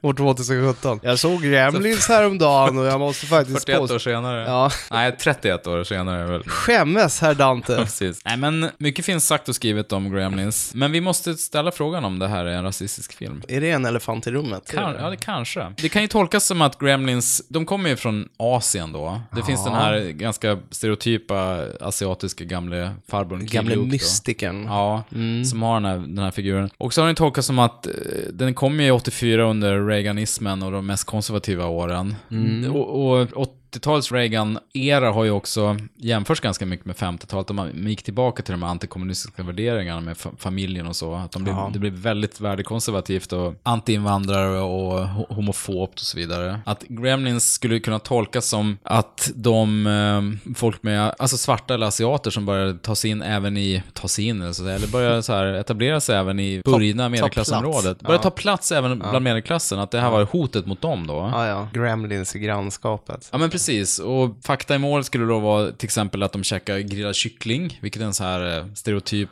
A: år 2017. Jag såg Gremlins häromdagen och jag måste faktiskt
B: 41
A: påstå-
B: år senare.
A: Ja.
B: Nej, 31 år senare. är
A: [LAUGHS]
B: väl.
A: Skämmes herr Dante.
B: Precis. Nej, men mycket finns sagt och skrivet om Gremlins. Men vi måste ställa frågan om det här är en rasistisk film.
A: Är det en elefant i rummet?
B: Kan, ja, det kanske. Det kan ju tolkas som att Gremlins, de kommer ju från Asien då. Det finns den här ganska stereotypa asiatiska gamle farbrorn Kid
A: Gamle
B: Luke då.
A: mystikern.
B: Ja, som har den här, den här figuren. Och så har den tolkats som att eh, den kom ju i 84 under Reaganismen och de mest konservativa åren. Och, och 80-talets Reagan-era har ju också jämförts ganska mycket med 50-talet. De man gick tillbaka till de här antikommunistiska värderingarna med fa- familjen och så. Att de blev, det blev väldigt värdekonservativt och antiinvandrare och ho- homofobt och så vidare. Att Gremlins skulle kunna tolkas som att de eh, folk med, alltså svarta eller asiater som började ta sig in även i, ta sig in eller så där, eller började så här etablera sig även i burgna medelklassområdet.
A: plats.
B: Började ta
A: Ja.
B: plats även bland medelklassen, att det här var hotet mot dem då.
A: Ja, ja. Gremlins i grannskapet.
B: Ja men precis, och fakta i mål skulle då vara till exempel att de käkar grillad kyckling, vilket är en så här eh, stereotyp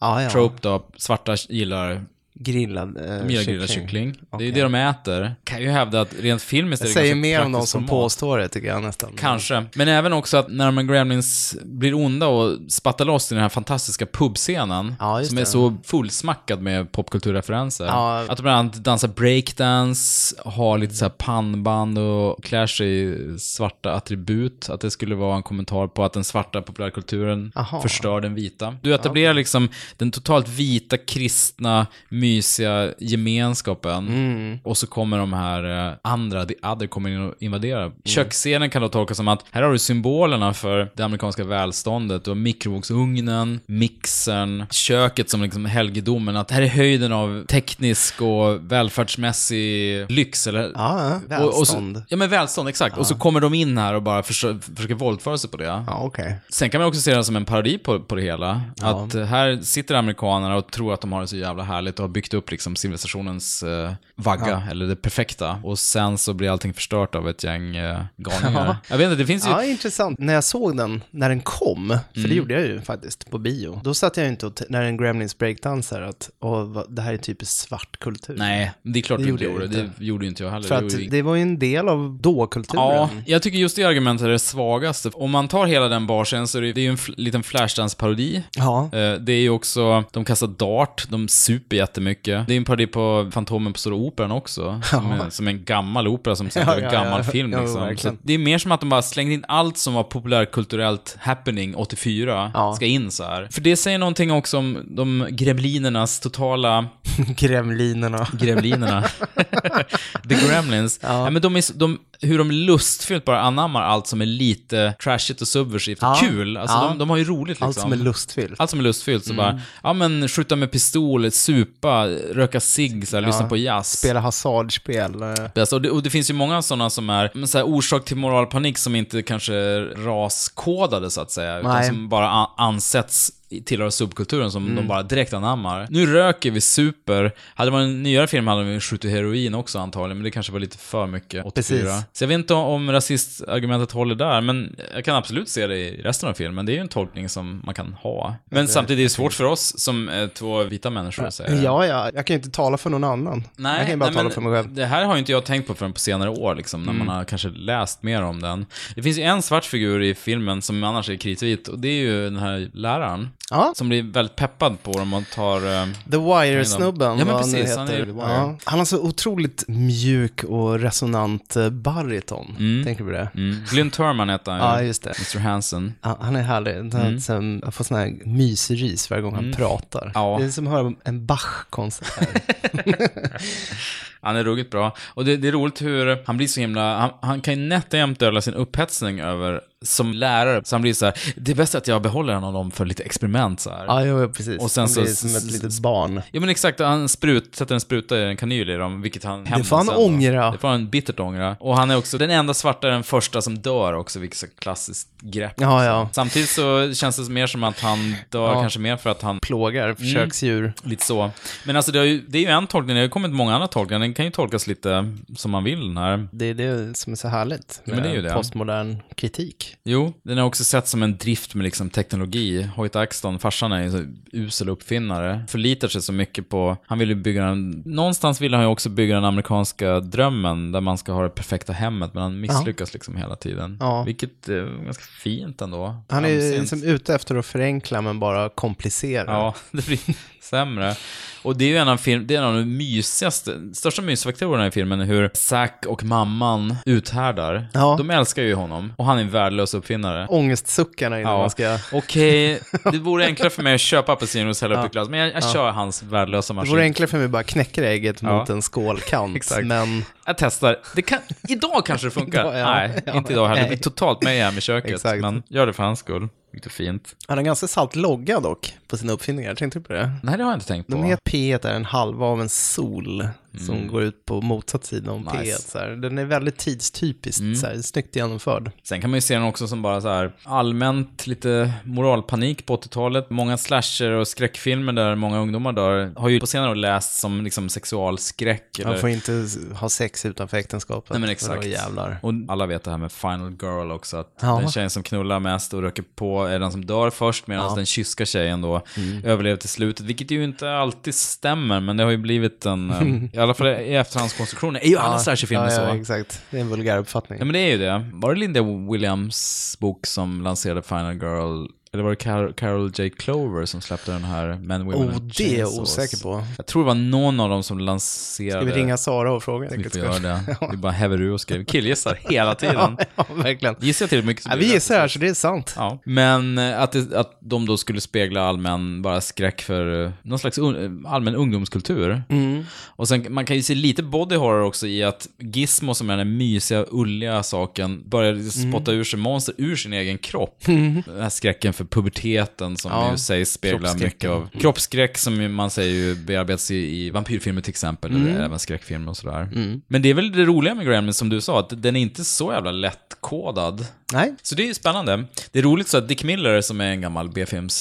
A: Ja, ja.
B: trope då, svarta gillar
A: grillad eh,
B: De gör grillad kyckling. Det är ju det de äter. Kan ju hävda att rent filmiskt är
A: Jag
B: det
A: säger
B: kanske
A: mer om de
B: praktiskt
A: som påstår det tycker jag nästan.
B: Mm. Kanske. Men även också att när de här Gremlins blir onda och spattar loss i den här fantastiska pubscenen.
A: just
B: som
A: det.
B: är så fullsmackad med popkulturreferenser.
A: Ja.
B: Att de bland annat dansar breakdance, har lite så här pannband och klär sig i svarta attribut. Att det skulle vara en kommentar på att den svarta populärkulturen
A: Aha.
B: förstör den vita. Du etablerar liksom den totalt vita, kristna, mysiga gemenskapen.
A: Mm.
B: Och så kommer de här eh, andra, the other, kommer in och invaderar. Köksscenen kan då tolkas som att här har du symbolerna för det amerikanska välståndet. Du har mikrovågsugnen, mixern, köket som liksom helgedomen. Att här är höjden av teknisk och välfärdsmässig lyx. Eller,
A: Ja, ja.
B: Och, och
A: Välstånd.
B: så, ja, men välstånd, exakt. Och så kommer de in här och bara försöker, försöker våldföra sig på det.
A: Ja, okej.
B: Sen kan man också se det som en parodi på, på det hela.
A: Ja.
B: Att eh, här sitter amerikanerna och tror att de har det så jävla härligt och har byggt upp liksom civilisationens eh, vagga,
A: Ja.
B: eller det perfekta. Och sen så blir allting förstört av ett gäng eh, galningar. Jag vet inte, det finns ju...
A: Ja, intressant. När jag såg den, när den kom, för det
B: Mm.
A: gjorde jag ju faktiskt på bio, då satt jag ju inte och, t- när en Gremlins breakdansar, att åh, vad- det här är typiskt svart kultur.
B: Nej, det är klart
A: Det
B: det
A: gjorde
B: du inte
A: jag
B: gjorde.
A: inte.
B: Det gjorde ju inte jag heller.
A: För
B: Det
A: att
B: gjorde ju-
A: det var ju en del av dåkulturen.
B: Ja, jag tycker just det argumentet är det svagaste. Om man tar hela den barsen så är det, det är ju en fl- liten Flashdance-parodi.
A: Ja. [LAUGHS]
B: Eh, Det är ju också, de kastar dart, de super jättemycket. Det är en parodi på Fantomen på Stora Operan också. Som,
A: [LAUGHS] Ja.
B: är, som en gammal opera som
A: Ja,
B: sen blev en
A: ja,
B: gammal
A: ja.
B: film
A: Jo,
B: liksom.
A: verkligen.
B: Så det är mer som att de bara slängde in allt som var populärkulturellt happening 84,
A: Ja.
B: ska in så här. För det säger någonting också om de gremlinernas totala
A: Gremlinerna. [LAUGHS]
B: Gremlinerna. [LAUGHS] The Gremlins. Ja. men de är, så- de, hur de lustfyllt bara anammar allt som är lite trashigt och subversivt och
A: Ja.
B: kul. Alltså
A: Ja.
B: de, de har ju roligt liksom.
A: Allt som är lustfyllt.
B: Allt som är lustfyllt. Så
A: Mm.
B: bara, ja men skjuta med pistol, supa, röka cigg, så här, lyssna på jazz.
A: Spela hasardspel. eh.
B: Bäst. Och det, och det finns ju många sådana som är men så här, orsak till moralpanik som inte kanske är raskodade så att säga. Utan
A: Nej.
B: som bara a- ansätts i- tillhöra subkulturen som
A: Mm.
B: de bara direkt anammar. Nu röker vi super. Hade det varit en nyare film hade vi skjutit heroin också antagligen, men det kanske var lite för mycket 84.
A: Precis.
B: Så jag vet inte om rasistargumentet håller där, men jag kan absolut se det i resten av filmen. Det är ju en tolkning som man kan ha. Men
A: Det-
B: samtidigt är det svårt för oss som eh, två vita människor att säga.
A: Ja, ja, jag kan ju inte tala för någon annan.
B: Nej,
A: jag kan ju bara
B: nej,
A: tala
B: men
A: för mig själv.
B: Det här har ju inte jag tänkt på förrän på senare år, liksom, när
A: Mm.
B: man har kanske läst mer om den. Det finns ju en svart figur i filmen som annars är kritvit, och det är ju den här läraren.
A: Ja.
B: Som blir väldigt peppad på dem och tar... eh,
A: The Wire-snubben,
B: Ja, men
A: vad han nu
B: precis.
A: heter.
B: Han är ju The Wire.
A: ja. han har så otroligt mjuk och resonant eh, bariton. Tänker du på det?
B: Mm. Glyn Turman heter han
A: Ja,
B: ju.
A: just det.
B: Mr Hansen.
A: Ja, han är härlig. Den,
B: Mm.
A: sen, jag får sån här mysrys varje gång han
B: Mm.
A: pratar.
B: Ja.
A: Det är som att höra en
B: [LAUGHS]
A: Bach-konsert.
B: Han är ruggigt bra. Och det, det är roligt hur han blir så himla... Han, han kan ju nätt och jämt dölja sin upphetsning över, som lärare, så han blir så här, det är bäst att jag behåller en av dem för lite experiment så här.
A: ja, jo, jo, precis.
B: Och sen
A: han
B: så-
A: blir som ett litet barn.
B: Ja men exakt, han sprut, sätter en spruta i en kanyl i dem, vilket han hämnas
A: får han
B: sen då.
A: ångra.
B: Det får han bittert ångra. Och han är också den enda svarta, den första som dör också, vilket är så klassiskt grepp.
A: Ja, ja.
B: Samtidigt så känns det mer som att han dör
A: Ja.
B: kanske mer för att han... Mm.
A: Plågar, försöksdjur.
B: Lite så. Men alltså det, har ju, det är ju en tolkning, det har ju kommit många andra tolkningar, den kan ju tolkas lite som man vill den här.
A: Det är det som är så härligt
B: Ja, men det är ju det.
A: postmodern kritik.
B: Jo, den har också sett som en drift med liksom teknologi. Hoyt Axton, farsan är ju så usel uppfinnare, förlitar sig så mycket på, han vill ju bygga den, någonstans vill han ju också bygga den amerikanska drömmen där man ska ha det perfekta hemmet, men han misslyckas liksom hela tiden.
A: Ja.
B: Vilket är ganska fint ändå.
A: Han är ju
B: Framsynt.
A: liksom ute efter att förenkla men bara komplicera.
B: Ja, [LAUGHS] det blir sämre. Och det är ju en av, film, det är en av de mysigaste, största mysfaktorerna i filmen är hur Zack och mamman uthärdar.
A: Ja.
B: De älskar ju honom och han är en värdelös uppfinnare.
A: Ångestsuckarna innan
B: Ja.
A: man ska...
B: Okej, det vore enklare för mig att köpa apelsiner och hälla upp
A: Ja.
B: i glas, men jag, jag
A: Ja.
B: kör hans värdelösa
A: Det
B: maskin.
A: vore enklare för mig att bara knäcka ägget
B: Ja.
A: mot en skålkant.
B: [LAUGHS] Exakt.
A: men
B: Jag testar. Det kan, idag kanske det funkar.
A: Idag, ja.
B: Nej,
A: Ja.
B: inte idag heller. Det blir
A: Nej.
B: totalt med hem i köket,
A: Exakt.
B: men gör det för hans skull. Vilket är fint.
A: han har ganska salt logga dock på sina uppfinningar. Tänkte du på det?
B: Nej, det har jag inte tänkt på.
A: De heter P1 är en halva av en sol som
B: Mm.
A: går ut på motsatt sida om
B: Nice. Mm.
A: P1. Så här. Den är väldigt tidstypiskt, så här, snyggt genomförd.
B: Sen kan man ju se den också som bara så här allmänt lite moralpanik på 80-talet. Många slasher och skräckfilmer där många ungdomar dör har ju på senare år läst som liksom sexualskräck. Eller...
A: Man får inte s- ha sex utanför äktenskapet.
B: Nej men
A: Då
B: exakt.
A: jävlar.
B: Och alla vet det här med Final Girl också, att
A: Ja.
B: den tjejen som knullar mest och röker på är den som dör först, medan
A: Ja. Mm.
B: den kyska tjejen då och överlever till slutet, vilket ju inte alltid stämmer, men det har ju blivit en,
A: [LAUGHS]
B: eh, i alla fall i efterhandskonstruktionen, är ju alla slasherfilmer
A: ja,
B: så.
A: ja, exakt. Det är en vulgär uppfattning.
B: Ja, men det är ju det. Var det Linda Williams bok som lanserade Final Girl? Eller var det Car- Carol J. Clover som släppte den här Men Women
A: Oh,
B: and
A: det är jag
B: Chainsaws?
A: osäker på.
B: Jag tror det var någon av dem som lanserade...
A: Ska vi ringa Sara och fråga?
B: Vi får göra det. Vi bara häver ur och skriver killgissar hela tiden.
A: [LAUGHS] Ja, ja, verkligen.
B: Gissar jag till hur mycket som
A: Ja,
B: blir
A: vi
B: rätt.
A: gissar här, så det är sant.
B: Ja. Men eh, att, det, att de då skulle spegla allmän bara skräck för eh, någon slags un, allmän ungdomskultur.
A: Mm.
B: Och sen man kan ju se lite body horror också i att Gizmo som är den mysiga, ulliga saken börjar liksom
A: Mm.
B: spotta ur sig monster ur sin
A: [LAUGHS]
B: egen kropp. Den här skräcken för puberteten som
A: Ja.
B: ju sägs spegla
A: Kroppsskräcken. Mm.
B: mycket av kroppsskräck som ju man säger ju bearbetas i, i vampyrfilmer till exempel, eller
A: Mm.
B: även skräckfilmer och sådär.
A: Mm.
B: Men det är väl det roliga med Gremlins som du sa, att den är inte så jävla lättkodad.
A: Nej.
B: Så det är ju spännande. Det är roligt så att Dick Miller, som är en gammal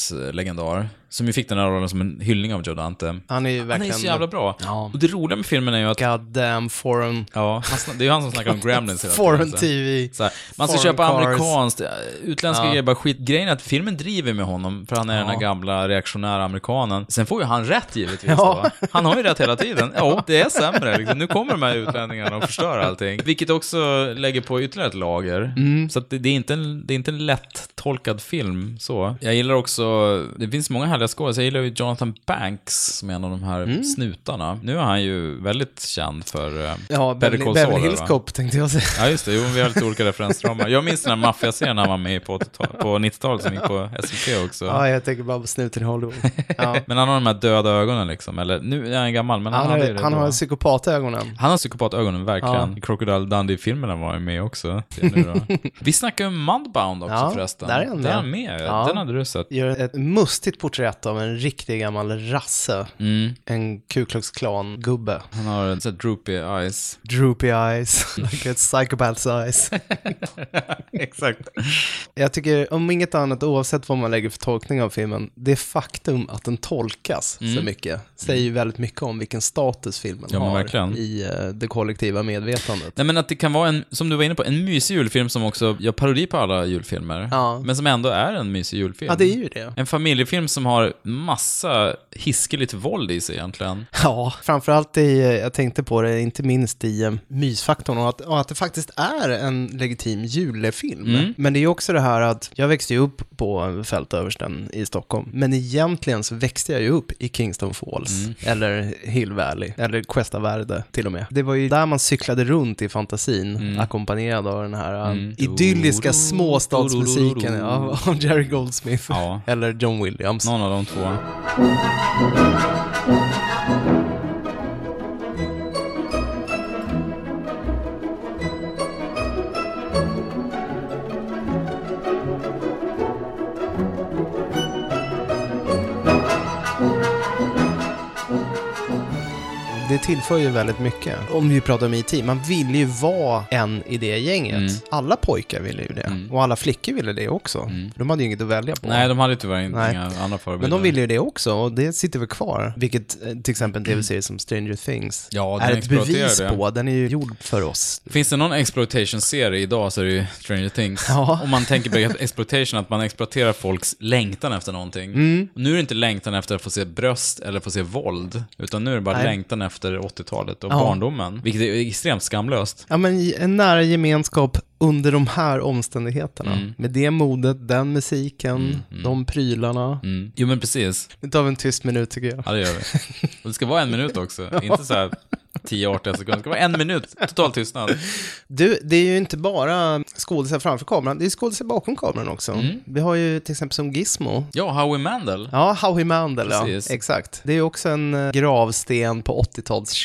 B: B-filmslegendar, som ju fick den här rollen som en hyllning av Joe Dante.
A: Han är ju verkligen...
B: så jävla bra.
A: Ja.
B: Och det roliga med filmen är ju att...
A: God damn foreign...
B: Ja, han sna- det är ju han
A: [LAUGHS]
B: som snackar om Gremlins hela
A: Foreign
B: så.
A: TV.
B: Så här, man ska
A: foreign
B: köpa
A: cars.
B: amerikanskt, eh, utländska
A: Ja.
B: grejer, bara skit. Grejen är att filmen driver med honom, för han är den här
A: Ja.
B: gamla reaktionära amerikanen. Sen får ju han rätt givetvis.
A: Ja.
B: Då. Han har ju rätt hela tiden. Ja, det är sämre. Liksom. Nu kommer de här utlänningarna och förstör allting. Vilket också lägger på ytterligare ett lager.
A: Mm.
B: Så att det, det, är inte en, det är inte en lätt tolkad film så. Jag gillar också, det finns många härliga skådespelare. Jag gillar ju Jonathan Banks som är en av de här
A: Mm.
B: snutarna. Nu är han ju väldigt känd för eh,
A: Ja,
B: Better
A: Beverly,
B: Call
A: Beverly
B: Saul,
A: Hills
B: va?
A: Cop tänkte jag säga.
B: Ja, just det. Jo, vi har lite olika referensramar. Jag minns den här maffiaserien han var med i på, 80-tal- på 90-talet som gick på SVT
A: [LAUGHS]
B: också.
A: Ja, jag tänker bara på snuten i
B: [LAUGHS]
A: Hollywood. Ja.
B: Men han har de här döda ögonen liksom, eller nu är han gammal, men han,
A: Han,
B: hade
A: är,
B: det
A: han
B: då.
A: har psykopatögonen.
B: Han har psykopatögonen, verkligen.
A: Ja.
B: I Crocodile Dundee-filmerna var han med också. Ser jag nu
A: [LAUGHS]
B: då. Vi snackade om Mudbound också
A: Ja,
B: förresten.
A: där är han
B: Där
A: med.
B: är han med.
A: Ja.
B: Den hade du sett.
A: Gör ett mustigt porträtt av en riktig gammal rasse.
B: Mm.
A: En Ku Klux Klan-gubbe.
B: Han har en sån här droopy eyes.
A: Droopy eyes, [LAUGHS] like a psychopath's eyes.
B: [LAUGHS] Exakt.
A: Jag tycker, om inget annat, oavsett vad man lägger för tolkning av filmen, det faktum att den tolkas så
B: Mm.
A: mycket säger ju väldigt mycket om vilken status filmen
B: Ja, men
A: har
B: verkligen.
A: i eh, det kollektiva medvetandet.
B: Nej men att det kan vara en, som du var inne på, en mysig julfilm som också gör parodi på alla julfilmer.
A: Ja.
B: Men som ändå är en mysig julfilm.
A: Ja, det är ju det.
B: En familjefilm som har massa hiskeligt våld i sig egentligen.
A: Ja, framförallt i, eh, jag tänkte på det, inte minst i eh, mysfaktorn och att, och att det faktiskt är en legitim julefilm.
B: Mm.
A: Men det är ju också det här att jag växte ju upp på Fältöversten i Stockholm, men egentligen så växte jag ju upp i Kingston Falls, eller Hill Valley, eller Cuesta Verde till och med. Det var ju Mm. där man cyklade runt i fantasin, ackompanjerad av den här eh,
B: Mm.
A: idylliska
B: Do, do, do, do,
A: småstadsmusiken
B: do.
A: av, [LAUGHS] av Jerry Goldsmith,
B: Ja.
A: eller John Williams.
B: Någon av de två.
A: Det tillför ju väldigt mycket. Om vi pratar om IT, man vill ju vara en i det gänget.
B: Mm.
A: Alla pojkar ville ju det. Och alla flickor ville det också. För de hade ju inget att välja på.
B: Mm. Nej, de hade ju tyvärr inte
A: Nej.
B: inga andra förebilder.
A: men de ville ju det också och det sitter väl kvar. Vilket eh, till exempel en tv-serie som Stranger Things
B: Ja, den
A: är ett
B: exploaterar
A: bevis
B: det.
A: på. Den är ju gjord för oss.
B: Finns det någon exploitation-serie idag så är det ju Stranger Things.
A: Ja.
B: Om man tänker på exploitation, att man exploaterar folks längtan efter någonting.
A: Mm.
B: Nu är det inte längtan efter att få se bröst eller få se våld, utan nu är det bara
A: Nej.
B: längtan efter 80-talet och
A: Ja.
B: barndomen. Vilket är extremt skamlöst.
A: Ja, men i- en nära gemenskap under de här omständigheterna.
B: Mm.
A: Med det modet, den musiken, de prylarna.
B: Mm. Jo men precis,
A: Nu tar vi en tyst minut tycker jag.
B: ja det gör vi.
A: [LAUGHS]
B: Och det ska vara en minut också, inte så här 10-18 sekunder. Det ska vara en minut, total tystnad.
A: Du, det är ju inte bara skådisar framför kameran, det är skådisar bakom kameran också.
B: Mm.
A: Vi har ju till exempel som Gizmo.
B: Ja, Howie Mandel.
A: Ja, Howie Mandel, ja.
B: Precis.
A: Exakt. Det är också en eh, gravsten på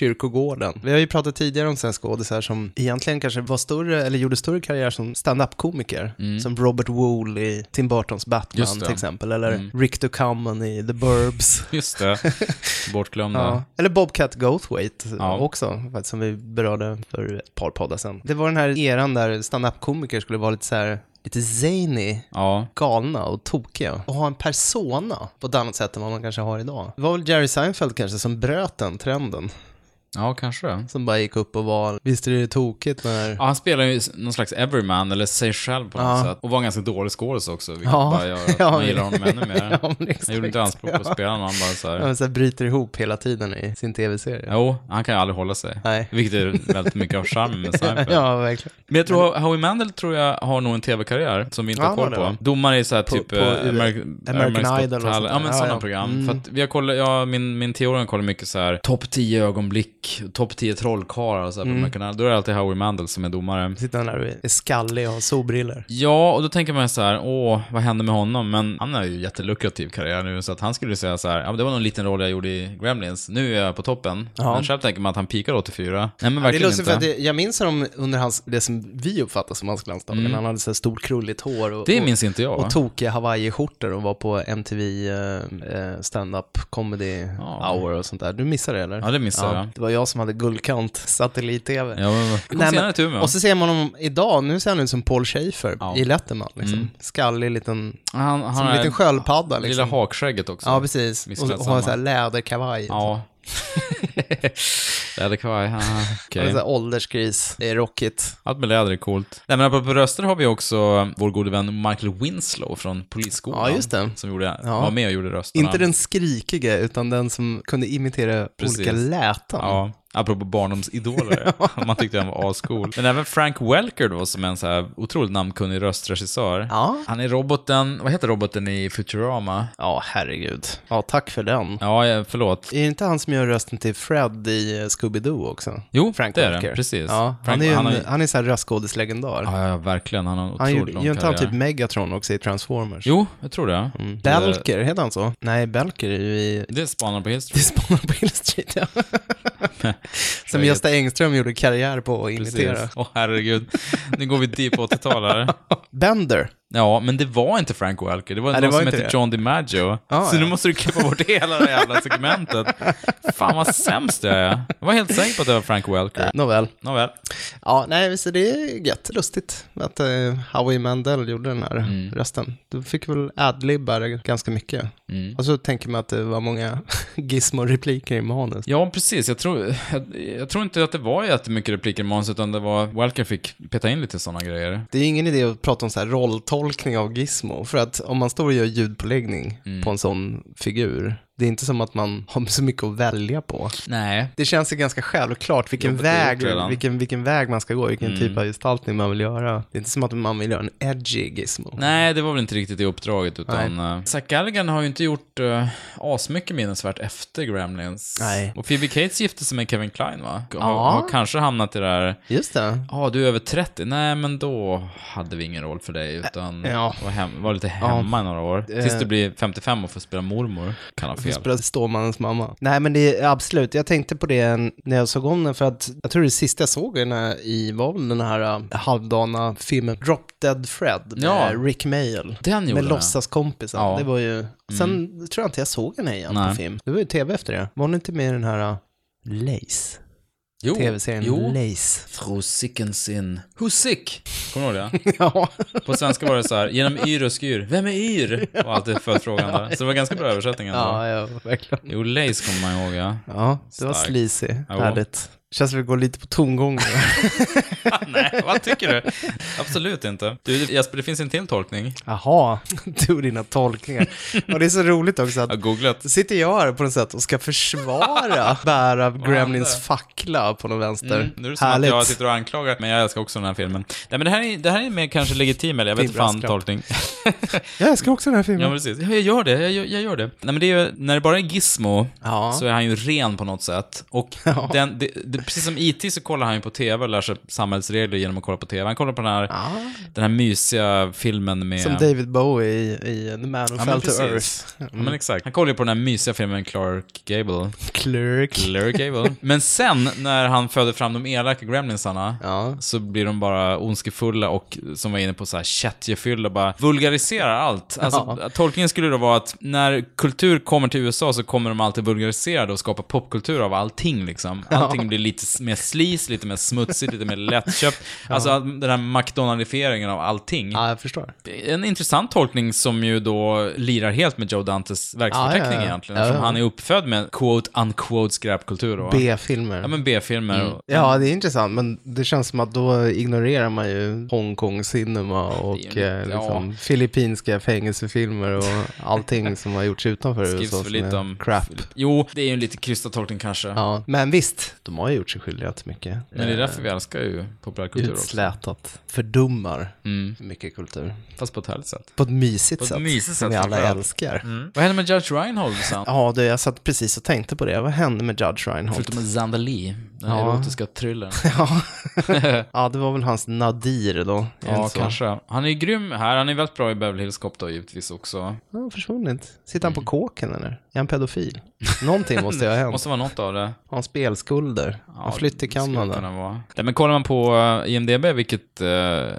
A: 80-talskyrkogården. Vi har ju pratat tidigare om sådana skådisar som egentligen kanske var större, eller gjorde större karriär som stand-up-komiker. Som Robert Wool i Tim Burtons Batman
B: Mm. Just det. Mm.
A: till exempel, eller Rick DeCummon i The Burbs. [LAUGHS]
B: Just det, bortglömda.
A: Ja. Eller Bobcat Goldthwait
B: Ja.
A: också, faktiskt, som vi berörde för ett par poddar sedan. Det var den här eran där standup-komiker skulle vara lite så här lite zany,
B: Ja.
A: galna och tokiga. Och ha en persona på ett annat sätt än vad man kanske har idag. Det var väl Jerry Seinfeld kanske som bröt den trenden.
B: Ja, kanske det.
A: Som bara gick upp och var, visst är det tokigt när...
B: Ja, han spelar ju någon slags everyman, eller sig själv på något
A: Ja.
B: sätt. Och var en ganska dålig skådis också, vilket
A: Ja.
B: bara gör att
A: [LAUGHS] Ja,
B: man
A: men-
B: gillar honom ännu mer.
A: [LAUGHS] Ja, men
B: han
A: exakt,
B: gjorde inte anspråk på att
A: ja.
B: spela någon, han bara så här.
A: Ja, men så här bryter ihop hela tiden i sin tv-serie.
B: Jo, han kan ju aldrig hålla sig.
A: Nej.
B: Vilket är väldigt mycket av
A: [LAUGHS]
B: charmen med Seinfeld.
A: Ja, verkligen.
B: Men jag tror Howie Mandel tror jag har nog en tv-karriär som vi inte
A: Ja,
B: har koll
A: det
B: på.
A: var.
B: Domare i så här
A: På-
B: typ
A: på
B: eh,
A: U-
B: American,
A: American Idol och
B: Got Talent.
A: sånt där.
B: Ja, men
A: Ja,
B: sådana
A: ja.
B: program.
A: Mm.
B: För att vi har kollat, ja, min, min teori kollar mycket så här topp 10 ögonblick, topp 10 trollkarlar och så här på
A: Mm.
B: American Idol. Då är det alltid Howie Mandel som är domare.
A: Sitter han där och är skallig och har solbriller.
B: Ja, och då tänker man så här, åh, vad hände med honom? Men han har ju jättelukrativ karriär nu, så att han skulle säga så här, ja men det var någon liten roll jag gjorde i Gremlins, nu är jag på toppen.
A: Ja.
B: Men själv tänker man att han pikar 84. Nej
A: Ja,
B: men
A: det är
B: verkligen
A: lustigt
B: inte.
A: för att det, jag minns honom under hans, det som vi uppfattar som hans glansdagar.
B: Mm.
A: Han hade så här stort krulligt hår. Och,
B: Det
A: och-
B: minns inte jag.
A: Och tokiga hawaiiskjortor och var på MTV eh, eh, stand-up comedy
B: Ja.
A: hour och sånt där. Du missade det eller?
B: Ja, det missade jag.
A: Det var jag som hade guldkant [LAUGHS] satellit-tv.
B: Ja, men, kom
A: Nej,
B: senare
A: men,
B: till Umeå.
A: och så ser man honom idag, nu ser han ut som Paul Schaefer
B: Ja.
A: i Letterman. Liksom.
B: Mm.
A: Skallig liten,
B: Han- han
A: som en
B: är-
A: liten sköldpadda. Liksom.
B: Lilla hakskägget också.
A: Ja, precis. Och, och har så här läderkavaj.
B: Ja.
A: [LAUGHS]
B: Läderkavaj, ja,
A: Och
B: okej.
A: så här åldersgris. Det är rockigt.
B: Allt med läder är coolt. Nej men apropå röster har vi också vår gode vän Michael Winslow från Polisskolan.
A: Ja, just det.
B: Som gjorde,
A: Ja.
B: var med och gjorde rösterna.
A: Inte den skrikiga, utan den som kunde imitera
B: Precis.
A: olika läten.
B: Ja,
A: [LAUGHS]
B: apropå barndomsidoler. [LAUGHS] Man tyckte han var ascool. Men även Frank Welker då, som är en så här otroligt namnkunnig röstregissör. Han är roboten, vad heter roboten i Futurama?
A: Ja, herregud. Ja, tack för den.
B: Ja, eh, förlåt.
A: Är det inte han som gör rösten till Fred i eh, Scooby-Doo också?
B: Jo,
A: Frank
B: det är det.
A: Welker.
B: Precis.
A: Ja,
B: Frank-
A: han är ju
B: han
A: en,
B: har
A: han
B: ju-
A: är, så här röstskådislegendar.
B: Ja, ja, verkligen. Han har en otroligt
A: han
B: lång
A: gjorde-
B: karriär.
A: gör inte han typ Mm. Megatron också i Transformers?
B: Jo, jag tror det.
A: Belker, heter han så? Nej, Belker är ju i... [LAUGHS]
B: Det spanar på Hill Street.
A: Det spanar på Hill Street,
B: [LAUGHS]
A: ja. Som Gösta Engström gjorde karriär på att imitera.
B: Precis. Åh herregud. Nu går vi deep
A: [LAUGHS]
B: 80-tal här.
A: Bender.
B: Ja, men det var inte Frank Welker. Det var
A: Nej, det
B: någon
A: var
B: som
A: inte
B: hette
A: det.
B: John DiMaggio.
A: Ja,
B: så
A: ja.
B: nu måste du
A: [LAUGHS]
B: klippa bort hela det jävla segmentet. Fan vad sämst jag är. Jag var helt säker på att det var Frank Welker.
A: Nåväl.
B: Nåväl.
A: Ja, nej, så det är gött, lustigt att eh, Howie Mandel gjorde den här rösten. Du fick väl adlibbar ganska mycket.
B: Mm.
A: Och så tänker man att det var många [LAUGHS] gizmo-repliker i manus.
B: Ja, precis. Jag tror, jag, jag tror inte att det var jättemycket repliker i manus, utan det var Welker fick peta in lite sådana grejer.
A: Det är ingen idé att prata om så här rolltolkning av gizmo, för att om man står och gör ljudpåläggning
B: Mm.
A: på en sån figur, det är inte som att man har så mycket att välja på.
B: Nej.
A: Det känns ju ganska självklart vilken
B: Jobbet är gjort
A: väg,
B: redan.
A: vilken, vilken väg man ska gå, vilken
B: Mm.
A: typ av gestaltning man vill göra. Det är inte som att man vill göra en edgy gizmo.
B: Nej, det var väl inte riktigt det uppdraget, utan... eh, Zack Galligan har ju inte gjort uh, asmycket minnesvärt efter Gremlins.
A: Nej.
B: Och Phoebe Cates gifte sig med Kevin Klein, va? Har,
A: Ja.
B: har kanske hamnat i det här
A: Just det.
B: Ja, du är över 30. Nej, men då hade vi ingen roll för dig, utan
A: Ja.
B: var, hem, var lite hemma i några år. Tills du blir 55 och får spela mormor. Kan ha
A: Hon
B: fel.
A: spelar Stålmannens mamma. Nej, men det är absolut. Jag tänkte på det när jag såg om den, för att jag tror det sista jag såg henne i var väl den här äh, halvdana filmen Drop Dead Fred med
B: Ja.
A: Rick Mayall.
B: Den gjorde
A: Med
B: jag.
A: låtsaskompisen.
B: Ja. Mm.
A: Det var ju... Sen tror jag inte jag såg henne igen
B: Nej.
A: på film. Det var ju tv efter det. Var hon inte med i den här äh, Lace?
B: Jo,
A: Tv-serien
B: jo. [LAUGHS]
A: Lace.
B: Frusikensin. Hussik! Kommer du ihåg det?
A: Ja.
B: På svenska var det så här, genom yr och skyr. Vem är yr? Var alltid följdfrågan där. Så det var ganska bra översättning ändå.
A: ja, ja, verkligen.
B: Jo, Lace kommer man ihåg, ja.
A: Ja, det var
B: Starkt.
A: sleazy.
B: Ja.
A: Härligt. Känns som vi går lite på
B: [LAUGHS]
A: tomgång nu.
B: [LAUGHS] Nej, vad tycker du? Absolut inte. Du, Jesper, det finns en till tolkning.
A: Jaha, [LAUGHS] du och dina tolkningar. Och det är så roligt också att
B: Jag har googlat.
A: Då sitter jag här på något sätt och ska
B: [LAUGHS]
A: försvara bära Gremlins fackla på någon vänster.
B: Mm, nu är det som att jag sitter och anklagar, men jag älskar också den här filmen. Nej, men det här är, det här är mer kanske legitim, eller jag vet
A: Din
B: inte fan
A: brasklapp.
B: tolkning.
A: Jag älskar också den här
B: ja,
A: filmen.
B: precis. Ja, jag gör det, jag, gör- jag gör det. Nej, men det är ju, när det bara är Gizmo,
A: Ja.
B: så är han ju ren på något sätt. Och den, det, det, precis som IT så kollar han ju på TV och lär sig samhällsregler genom att kolla på TV. Han kollar på den här, den här mysiga filmen med...
A: Ah. Som David Bowie i, i The Man Who
B: Ja,
A: Fell
B: men
A: to
B: precis.
A: Earth. Mm.
B: Ja, men exakt. Han kollar ju på den här mysiga filmen med Clark Gable.
A: Clerk.
B: Clark [LAUGHS] Gable. Men sen, när han föder fram de elaka gremlinsarna,
A: Ja.
B: så blir de bara ondskefulla och, som var inne på, så här kättjefyllda, bara vulgariserar allt. Alltså, Tolkningen skulle då vara att när kultur kommer till USA så kommer de alltid vulgarisera det och skapa popkultur av allting liksom. Allting blir lite mer slis, lite mer smutsigt, lite
A: [LAUGHS]
B: mer lättköpt. Alltså den här McDonaldifieringen av allting.
A: Ja, jag förstår.
B: En intressant tolkning som ju då lirar helt med Joe Dantes verksförteckning
A: Ja, ja, ja.
B: egentligen.
A: Ja, ja.
B: Eftersom han är uppfödd med quote unquote skräpkultur då.
A: B-filmer.
B: Ja, men B-filmer. och-
A: Ja, det är intressant, men det känns som att då ignorerar man ju Hongkong cinema och eh,
B: ja.
A: liksom, filippinska fängelsefilmer och allting som har gjorts utanför
B: Skrivs
A: USA.
B: för
A: som
B: lite
A: är
B: om-
A: Crap.
B: Jo, det är ju en lite krystad tolkning kanske.
A: Ja, men visst, de har ju gjort sig skyldiga till mycket.
B: Men det är
A: Eh,
B: därför vi älskar ju populärkultur också.
A: Utslätat. Fördummar mycket kultur.
B: Fast på ett härligt sätt.
A: På ett mysigt
B: På ett
A: sätt.
B: mysigt
A: som
B: sätt, Mm.
A: vi alla
B: framförallt.
A: älskar.
B: Vad hände med Judge Reinhold sen?
A: Mm. Ja, du, jag satt precis och tänkte på det. Vad hände med Judge
B: [LAUGHS]
A: Reinhold?
B: Förutom med Zandalee, den
A: Ja.
B: erotiska
A: [LAUGHS]
B: thrillern.
A: Ja. ja, det var väl hans Nadir då. Är det
B: Ja,
A: inte så?
B: kanske. Han är ju grym här. Han är väldigt bra i Beverly Hills Cop då, givetvis också.
A: Han har försvunnit. Sitter
B: Mm.
A: han på kåken eller? Är han
B: [LAUGHS]
A: pedofil? Någonting måste ju ha hänt.
B: Måste vara något av det.
A: Har han spelskulder? han flytt till
B: Skulle kunna
A: Kanada?
B: vara. Nej, men kollar man på eh, IMDB, vilket eh,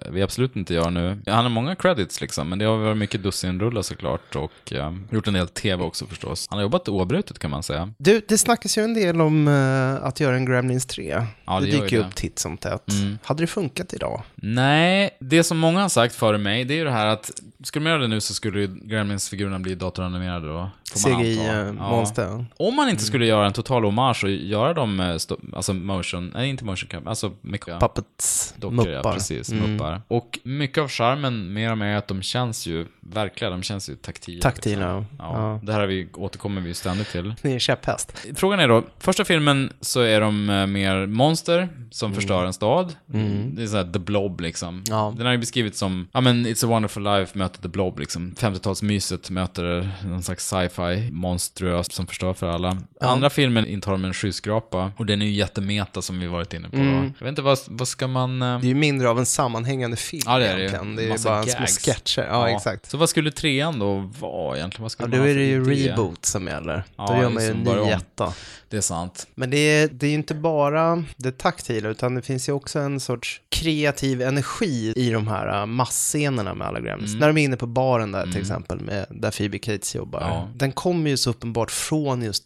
B: vi absolut inte gör nu. Han har många credits liksom, men det har varit mycket dussinrullar såklart och eh, gjort en del TV också förstås. Han har jobbat oavbrutet kan man säga.
A: Du, det snackas ju en del om eh, att göra en Gremlins 3.
B: Ja,
A: det,
B: det gör
A: dyker ju
B: ju det. Mm.
A: upp titt som tätt. Hade det funkat idag?
B: Nej, det som många har sagt före mig, det är ju det här att skulle man göra det nu så skulle ju Gremlins-figurerna bli datoranimerade då. får man
A: CGI,
B: anta.
A: eh, monster. Mm.
B: Om man inte skulle göra en total hommage och göra dem, eh, sto- alltså motion, nej inte motion cap, alltså mycket...
A: Puppets,
B: Dockor, ja,
A: muppar.
B: precis.
A: Mm.
B: Muppar. Och mycket av charmen med dem är att de känns ju verkliga, de känns ju taktila.
A: Taktila,
B: liksom. ja.
A: ja.
B: Det här har vi, återkommer vi ju ständigt till.
A: Ni är käpphäst.
B: Frågan är då, första filmen så är de eh, mer monster som förstör en stad. Det är såhär The Blob liksom.
A: Mm. Ja.
B: Den har ju beskrivits som, ja men It's a wonderful life möter The Blob liksom. 50-talsmyset möter någon slags sci-fi monstruöst som förstör för alla. Andra filmen intar de en skyskrapa och den är ju jättemeta som vi varit inne på.
A: Mm.
B: Jag vet inte, vad, vad ska man... eh,
A: Det är ju mindre av en sammanhängande film
B: Ja, det är det ju.
A: egentligen. Det är ju
B: Massa
A: bara
B: gags.
A: små sketcher. Ja, exakt.
B: Så vad skulle trean då vara egentligen? Vad skulle
A: Ja, då
B: man ha
A: är
B: för
A: det ju
B: idé?
A: reboot som gäller.
B: Ja,
A: då gör man
B: just
A: ju en
B: det, bara om.
A: ny etta.
B: Det är sant.
A: Men det är, det är ju inte bara det taktila, utan det finns ju också en sorts kreativ energi i de här äh, masscenerna med alla Gremlins.
B: Mm.
A: När de är inne på baren där till exempel, med, där Phoebe Cates jobbar.
B: Ja.
A: Den kommer ju så uppenbart från just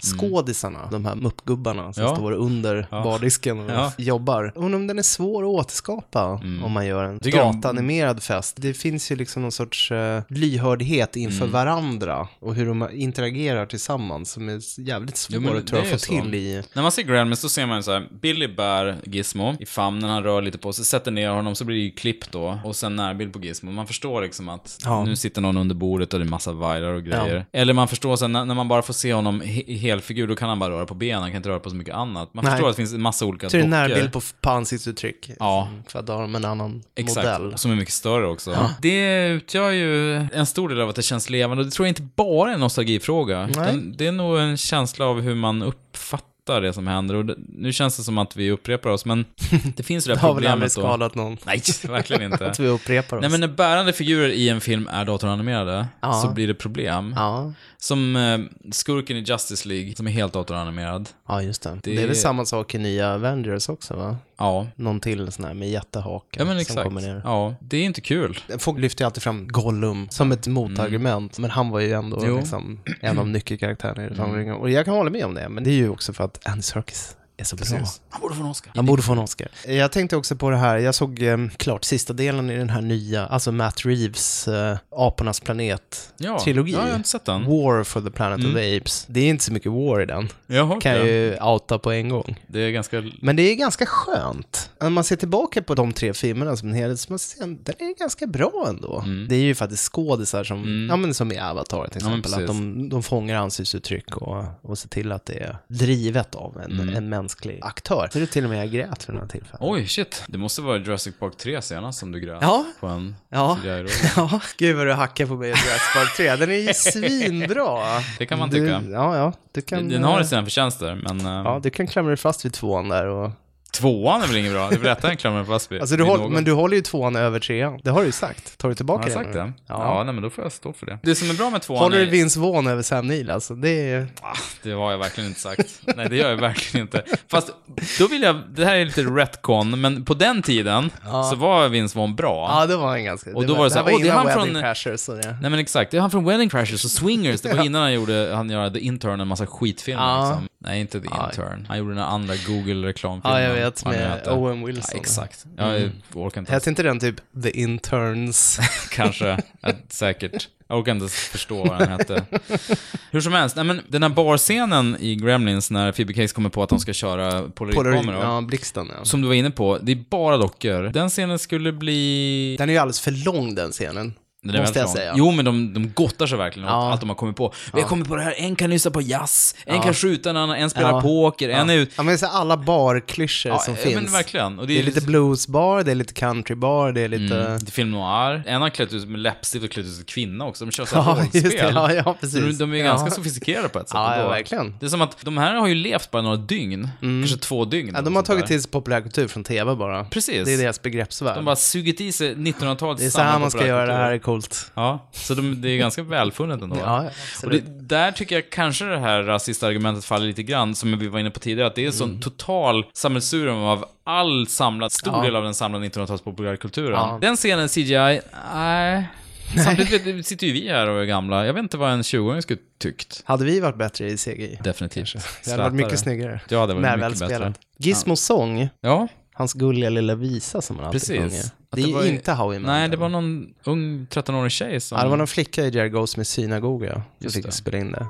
A: dockskådisarna, de här muppgubbarna som
B: Mm. Ja.
A: står under
B: Ja.
A: bardisken och
B: Ja. Mm.
A: jobbar. Undrar om den är svår att återskapa om man gör en
B: Tycker de-
A: datanimerad fest. Det finns ju liksom någon sorts eh, lyhördhet inför
B: Mm.
A: varandra och hur de interagerar tillsammans som är jävligt svår
B: Jo, men
A: att tror jag
B: det är
A: få
B: ju så.
A: till i
B: När man ser Gremlins så ser man ju så här, Billy bär Gizmo i famnen, han rör lite på sig, sätter ner honom, så blir det ju klipp då, och sen närbild på Gizmo. Man förstår liksom att
A: Ja.
B: nu sitter någon under bordet och det är massa vajrar och grejer. Eller man förstår sen när, när man bara får se honom he- i helfigur, då kan han bara röra på benen, han kan inte röra på så mycket annat. Man
A: Nej.
B: förstår att det finns en massa olika
A: Så det är en
B: dockor.
A: närbild på, på ansiktsuttryck.
B: Ja.
A: För att då har de en annan
B: Exakt,
A: modell.
B: som är mycket större också. Det utgör ju en stor del av att det känns levande och det tror jag inte bara är en nostalgifråga. Utan det är nog en känsla av hur man uppfattar det som händer. Och det, nu känns det som att vi upprepar
A: [LAUGHS]
B: oss, men det finns ju det
A: Det
B: här
A: har väl aldrig
B: problemet då.
A: skadat någon.
B: Nej, [LAUGHS]
A: [LAUGHS]
B: verkligen inte.
A: Att vi upprepar oss.
B: Nej, men när bärande figurer i en film är datoranimerade
A: Ja.
B: så blir det problem.
A: ja.
B: Som eh, skurken i Justice League, som är helt datoranimerad.
A: ja, just det.
B: Det-
A: det. är väl samma sak i nya Avengers också, va?
B: Ja.
A: Någon till sån här med jättehaka
B: Ja, men
A: som
B: exakt.
A: kommer ner.
B: Ja, det är inte kul.
A: Folk lyfter ju alltid fram Gollum som ett motargument, men han var ju ändå
B: Jo. Mm.
A: liksom en av nyckelkaraktärerna i Sagan om ringen. Och jag kan hålla med om det, men det är ju också för att Andy Serkis är så bra.
B: Han borde få en Oscar.
A: Han borde få en Oscar. Jag tänkte också på det här, jag såg eh, klart sista delen i den här nya, alltså Matt Reeves eh, Apornas
B: Ja,
A: planet-trilogi.
B: ja, Mm. jag har inte sett den.
A: War for the Planet of the Apes. Det är inte så mycket war i den.
B: Jag har hört
A: Kan jag
B: det.
A: ju outa på en gång.
B: Det är ganska
A: Men det är ganska skönt. När man ser tillbaka på de tre filmerna som en helhet, så man ser att den är ganska bra ändå. Det är ju faktiskt skådisar som, ja men som i Avatar till
B: Mm. Ja, men
A: exempel, att
B: precis.
A: de, de fångar ansiktsuttryck och, och ser till att det är drivet av en, en mänsklig aktör. Så det är till och med jag grät för några tillfällen.
B: Mm. Oj, shit. Det måste vara Jurassic Park 3 senast som du grät
A: Ja.
B: på en
A: Ja.
B: CGI-roll.
A: [LAUGHS] Ja, gud vad du hackar på mig i Jurassic Park 3. Den är
B: [LAUGHS]
A: ju svinbra.
B: Det kan man
A: Du-
B: tycka.
A: Ja, ja. Du kan,
B: Den har
A: eh,
B: sina förtjänster, men eh,
A: Ja, du kan klamra dig fast vid tvåan där och...
B: tvåan är väl inget bra? Det är väl lättare än Klammer fast vid
A: Alltså du
B: vid
A: håll,
B: någon.
A: men du håller ju tvåan över trean. Det har du ju sagt. Tar du tillbaka
B: Har jag sagt det? Ja.
A: Ja.
B: nej men då får jag stå för det. Det som är bra med tvåan
A: Håller du
B: är...
A: Vince Vaughn över Sam Neill alltså? Det är...
B: Det har jag verkligen inte sagt. Nej, det gör jag verkligen inte. Fast, då vill jag... Det här är lite retcon, men på den tiden så var Vince Vaughn bra.
A: Ja, det var en ganska...
B: Och då var det så här,
A: här
B: "Åh, det är
A: innan
B: han från-
A: Wedding Crashers och det. [LAUGHS]
B: Nej men exakt, det är han från Wedding Crashers och Swingers. Det var innan han gjorde, han gjorde The Intern och en massa skitfilmer
A: Ja.
B: liksom. Nej, inte The Intern. Han gjorde den andra Google-reklamfilmen.
A: Ja, jag vet,
B: Vad den
A: med
B: hette.
A: Owen Wilson.
B: Ja, exakt. Jag
A: Mm.
B: orkar inte.
A: Hette inte den typ The
B: [LAUGHS]
A: Interns?
B: Kanske.
A: [LAUGHS]
B: Ja, säkert. Jag orkar inte förstå vad den hette. Hur som helst, nej, men den här barscenen i Gremlins när Phoebe Case kommer på att de ska köra
A: Polaroid,
B: polaroidkameror.
A: ja, blixten. Ja.
B: Som du var inne på, det är bara dockor. Den scenen skulle bli...
A: Den är ju alldeles för lång den scenen.
B: Den är
A: måste
B: väldigt
A: jag säga.
B: lång. Jo, men de, de gottar sig verkligen åt
A: Ja.
B: allt de har kommit på. Vi
A: Ja.
B: har kommit på det här, en kan lyssna på jazz, en
A: Ja.
B: kan skjuta en annan, en spelar
A: Ja.
B: poker, en
A: Ja.
B: är ut...
A: Ja, men så alla barklyschor
B: Ja,
A: som
B: ja,
A: finns.
B: men verkligen. Och det
A: det,
B: är
A: är lite
B: liksom-
A: bluesbar, det är lite countrybar, det är lite...
B: Mm, det är film noir. En har klätt ut med läppstift och klätt ut sig till kvinna också. De kör så
A: Ja,
B: här
A: just det.
B: rollspel.
A: Ja, ja, precis.
B: De, de är ju
A: Ja.
B: ganska sofistikerade på ett sätt.
A: Ja, ja,
B: ändå.
A: verkligen. Mm.
B: Det är som att de här har ju levt bara några dygn. Kanske två dygn.
A: Ja,
B: eller
A: de har
B: något sånt
A: tagit
B: där.
A: till sig populärkultur från tv bara.
B: Precis.
A: Det är deras begreppsvärld.
B: De bara sugit i sig 1900-talets
A: det är så här man ska göra, det
B: sammanpopulärkultur.
A: här är coolt.
B: Ja, så de, det är ganska välfunnet ändå.
A: Ja, ja,
B: och
A: absolut.
B: det, där tycker jag kanske det här rasistargumentet faller lite grann, som vi var inne på tidigare, att det är en
A: Mm.
B: sån total sammelsurium av all samlad, stor
A: Ja.
B: del av den samlade 1900-tals populärkulturen.
A: Ja.
B: Den scenen CGI, nej. Samtidigt vet- sitter ju vi här och är gamla. Jag vet inte vad en 20-åring skulle tyckt.
A: Hade vi varit bättre i CGI?
B: Definitivt.
A: Det hade varit mycket
B: Slätare.
A: snyggare.
B: Ja, det hade
A: När
B: varit mycket
A: väl
B: bättre.
A: spelat. Gizmos sång,
B: Ja,
A: hans gulliga lilla visa som han alltid sjunger.
B: precis. Att
A: Det är
B: var
A: ju
B: ju-
A: inte Howie Mandel.
B: Nej, det var någon ung 13-årig tjej som...
A: Ja, det var någon flicka i Jerry Goes med synagoga som
B: Mm. Just
A: fick
B: det.
A: spela in det.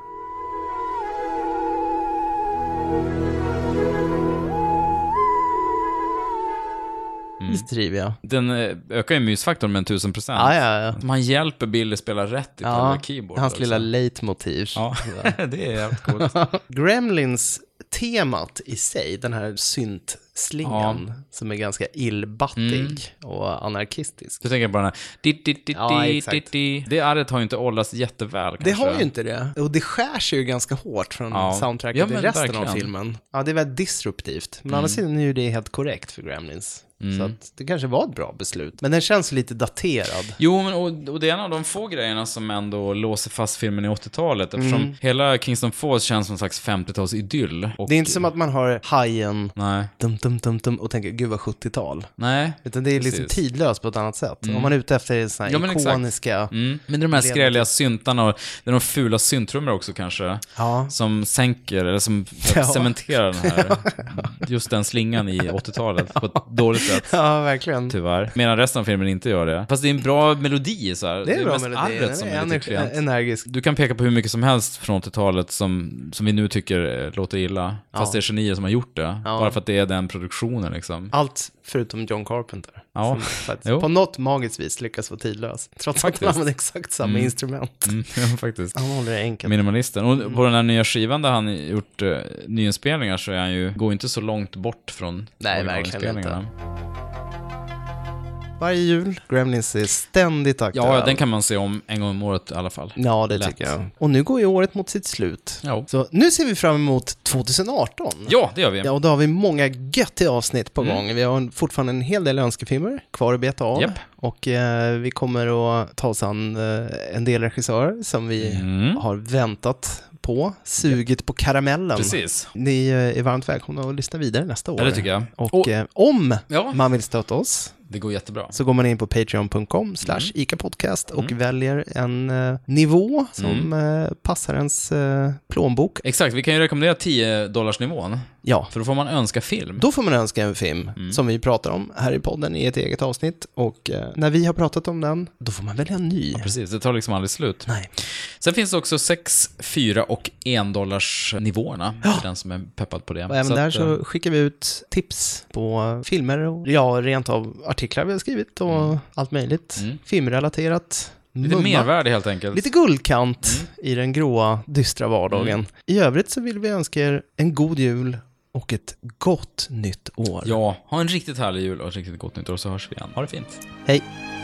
B: Mm.
A: Visst driver jag.
B: Den eh, ökar ju mysfaktorn med en tusen procent.
A: Ja, ja, ja.
B: Man hjälper Billy spela rätt i ja,
A: Ja,
B: keyboard.
A: hans
B: också.
A: lilla leitmotiv. [LAUGHS]
B: Ja, det är jävligt coolt.
A: Gremlins-temat i sig, den här syntslingan som är ganska illbattig
B: Mm.
A: och anarkistisk.
B: [LAUGHS] Du tänker på den här... Di, di, di,
A: Ja,
B: di, di,
A: exakt.
B: di. Det arret har ju inte åldrats jätteväl
A: Det
B: kanske.
A: har ju inte det. Och det skär sig ju ganska hårt från
B: Ja.
A: soundtracket
B: Ja,
A: i
B: men
A: resten av
B: verkligen. Mm.
A: filmen. Ja, det är väldigt disruptivt. Men å andra sidan är ju det helt korrekt för Gremlins. Så att det kanske var ett bra beslut. Men den känns lite daterad.
B: Jo, men och, och det är en av de få grejerna som ändå låser fast filmen i 80-talet. Eftersom hela Kingston Falls känns som en slags 50-talsidyll. Och-
A: Mm. Det är inte som att man har hajen
B: Nej.
A: dum, dum, dum, dum, och tänker gud vad 70-tal.
B: Nej.
A: Utan det är liksom
B: Precis. Mm.
A: tidlöst på ett annat sätt. Om man är ute efter såna här
B: Ja, men exakt.
A: ikoniska...
B: Mm. Men det är de här skrälliga syntarna och det är de fula syntrummorna också kanske.
A: Ja.
B: Som sänker, eller som
A: [LAUGHS] Ja.
B: cementerar
A: [LAUGHS]
B: den här, just den slingan i 80-talet på ett dåligt sätt.
A: Ja, verkligen.
B: Tyvärr. Medan resten av filmen inte gör det. Fast det är en bra melodi så här.
A: Det är en bra
B: mest
A: melodi.
B: arret som
A: Den
B: är
A: är
B: lite
A: energi-
B: klent.
A: energisk.
B: Du kan peka på hur mycket som helst från 80-talet som, som vi nu tycker eh, låter illa. Fast det är genier som har gjort det. Bara för att det är den produktionen liksom.
A: Allt förutom John Carpenter.
B: Ja.
A: Som faktiskt
B: Jo.
A: på något magiskt vis lyckas vara tidlös. Trots att han
B: Faktiskt.
A: använder exakt samma instrument.
B: Mm, [LAUGHS] ja, faktiskt.
A: Han håller det enkelt.
B: Minimalisten.
A: Mm.
B: Och på den här nya skivan där han gjort eh, nyinspelningar så är han ju, går inte så långt bort från
A: Nej, verkligen
B: originalinspelningarna.
A: inte. Varje jul, Gremlins är ständigt aktuell.
B: Ja, den kan man se om en gång om året i alla fall.
A: Ja, det
B: Lätt.
A: tycker jag. Och nu går ju året mot sitt slut.
B: Ja.
A: Så nu ser vi fram emot 2018.
B: Ja, Mm. det gör vi.
A: Ja, och då har vi många göttiga avsnitt på gång. Vi har en- fortfarande en hel del önskefilmer kvar att beta av.
B: Japp.
A: Och eh, vi kommer att ta oss an eh, en del regissörer som vi
B: Mm.
A: har väntat på, sugit på karamellen.
B: Precis.
A: Ni eh, är varmt välkomna att lyssna vidare nästa år.
B: det tycker jag.
A: Och,
B: Och-
A: eh, om
B: Ja.
A: man vill stötta oss
B: Det går jättebra.
A: så går man in på patreon.com slash
B: Mm.
A: icapodcast och väljer en eh, nivå som
B: Mm.
A: eh, passar ens eh, plånbok.
B: Exakt, vi kan ju rekommendera 10 dollarsnivån
A: Ja,
B: För då får man önska film.
A: Då får man önska en film
B: Mm.
A: som vi pratar om här i podden i ett eget avsnitt. Och eh, när vi har pratat om den, då får man välja en ny.
B: Precis, det tar liksom aldrig slut.
A: Nej.
B: Sen finns det också 6, 4 och 1 dollars nivåerna för den som är peppad på det.
A: Och även
B: Så att,
A: där
B: eh,
A: så skickar vi ut tips på filmer och ja, rent av artiklar vi har skrivit och allt möjligt. Filmrelaterat.
B: Mm. Lite
A: mumma.
B: mervärde helt enkelt.
A: Lite guldkant i den gråa, dystra vardagen. I övrigt så vill vi önska er en god jul och ett gott nytt år.
B: Ja, ha en riktigt härlig jul och ett riktigt gott nytt år så hörs vi igen. Ha det fint.
A: Hej!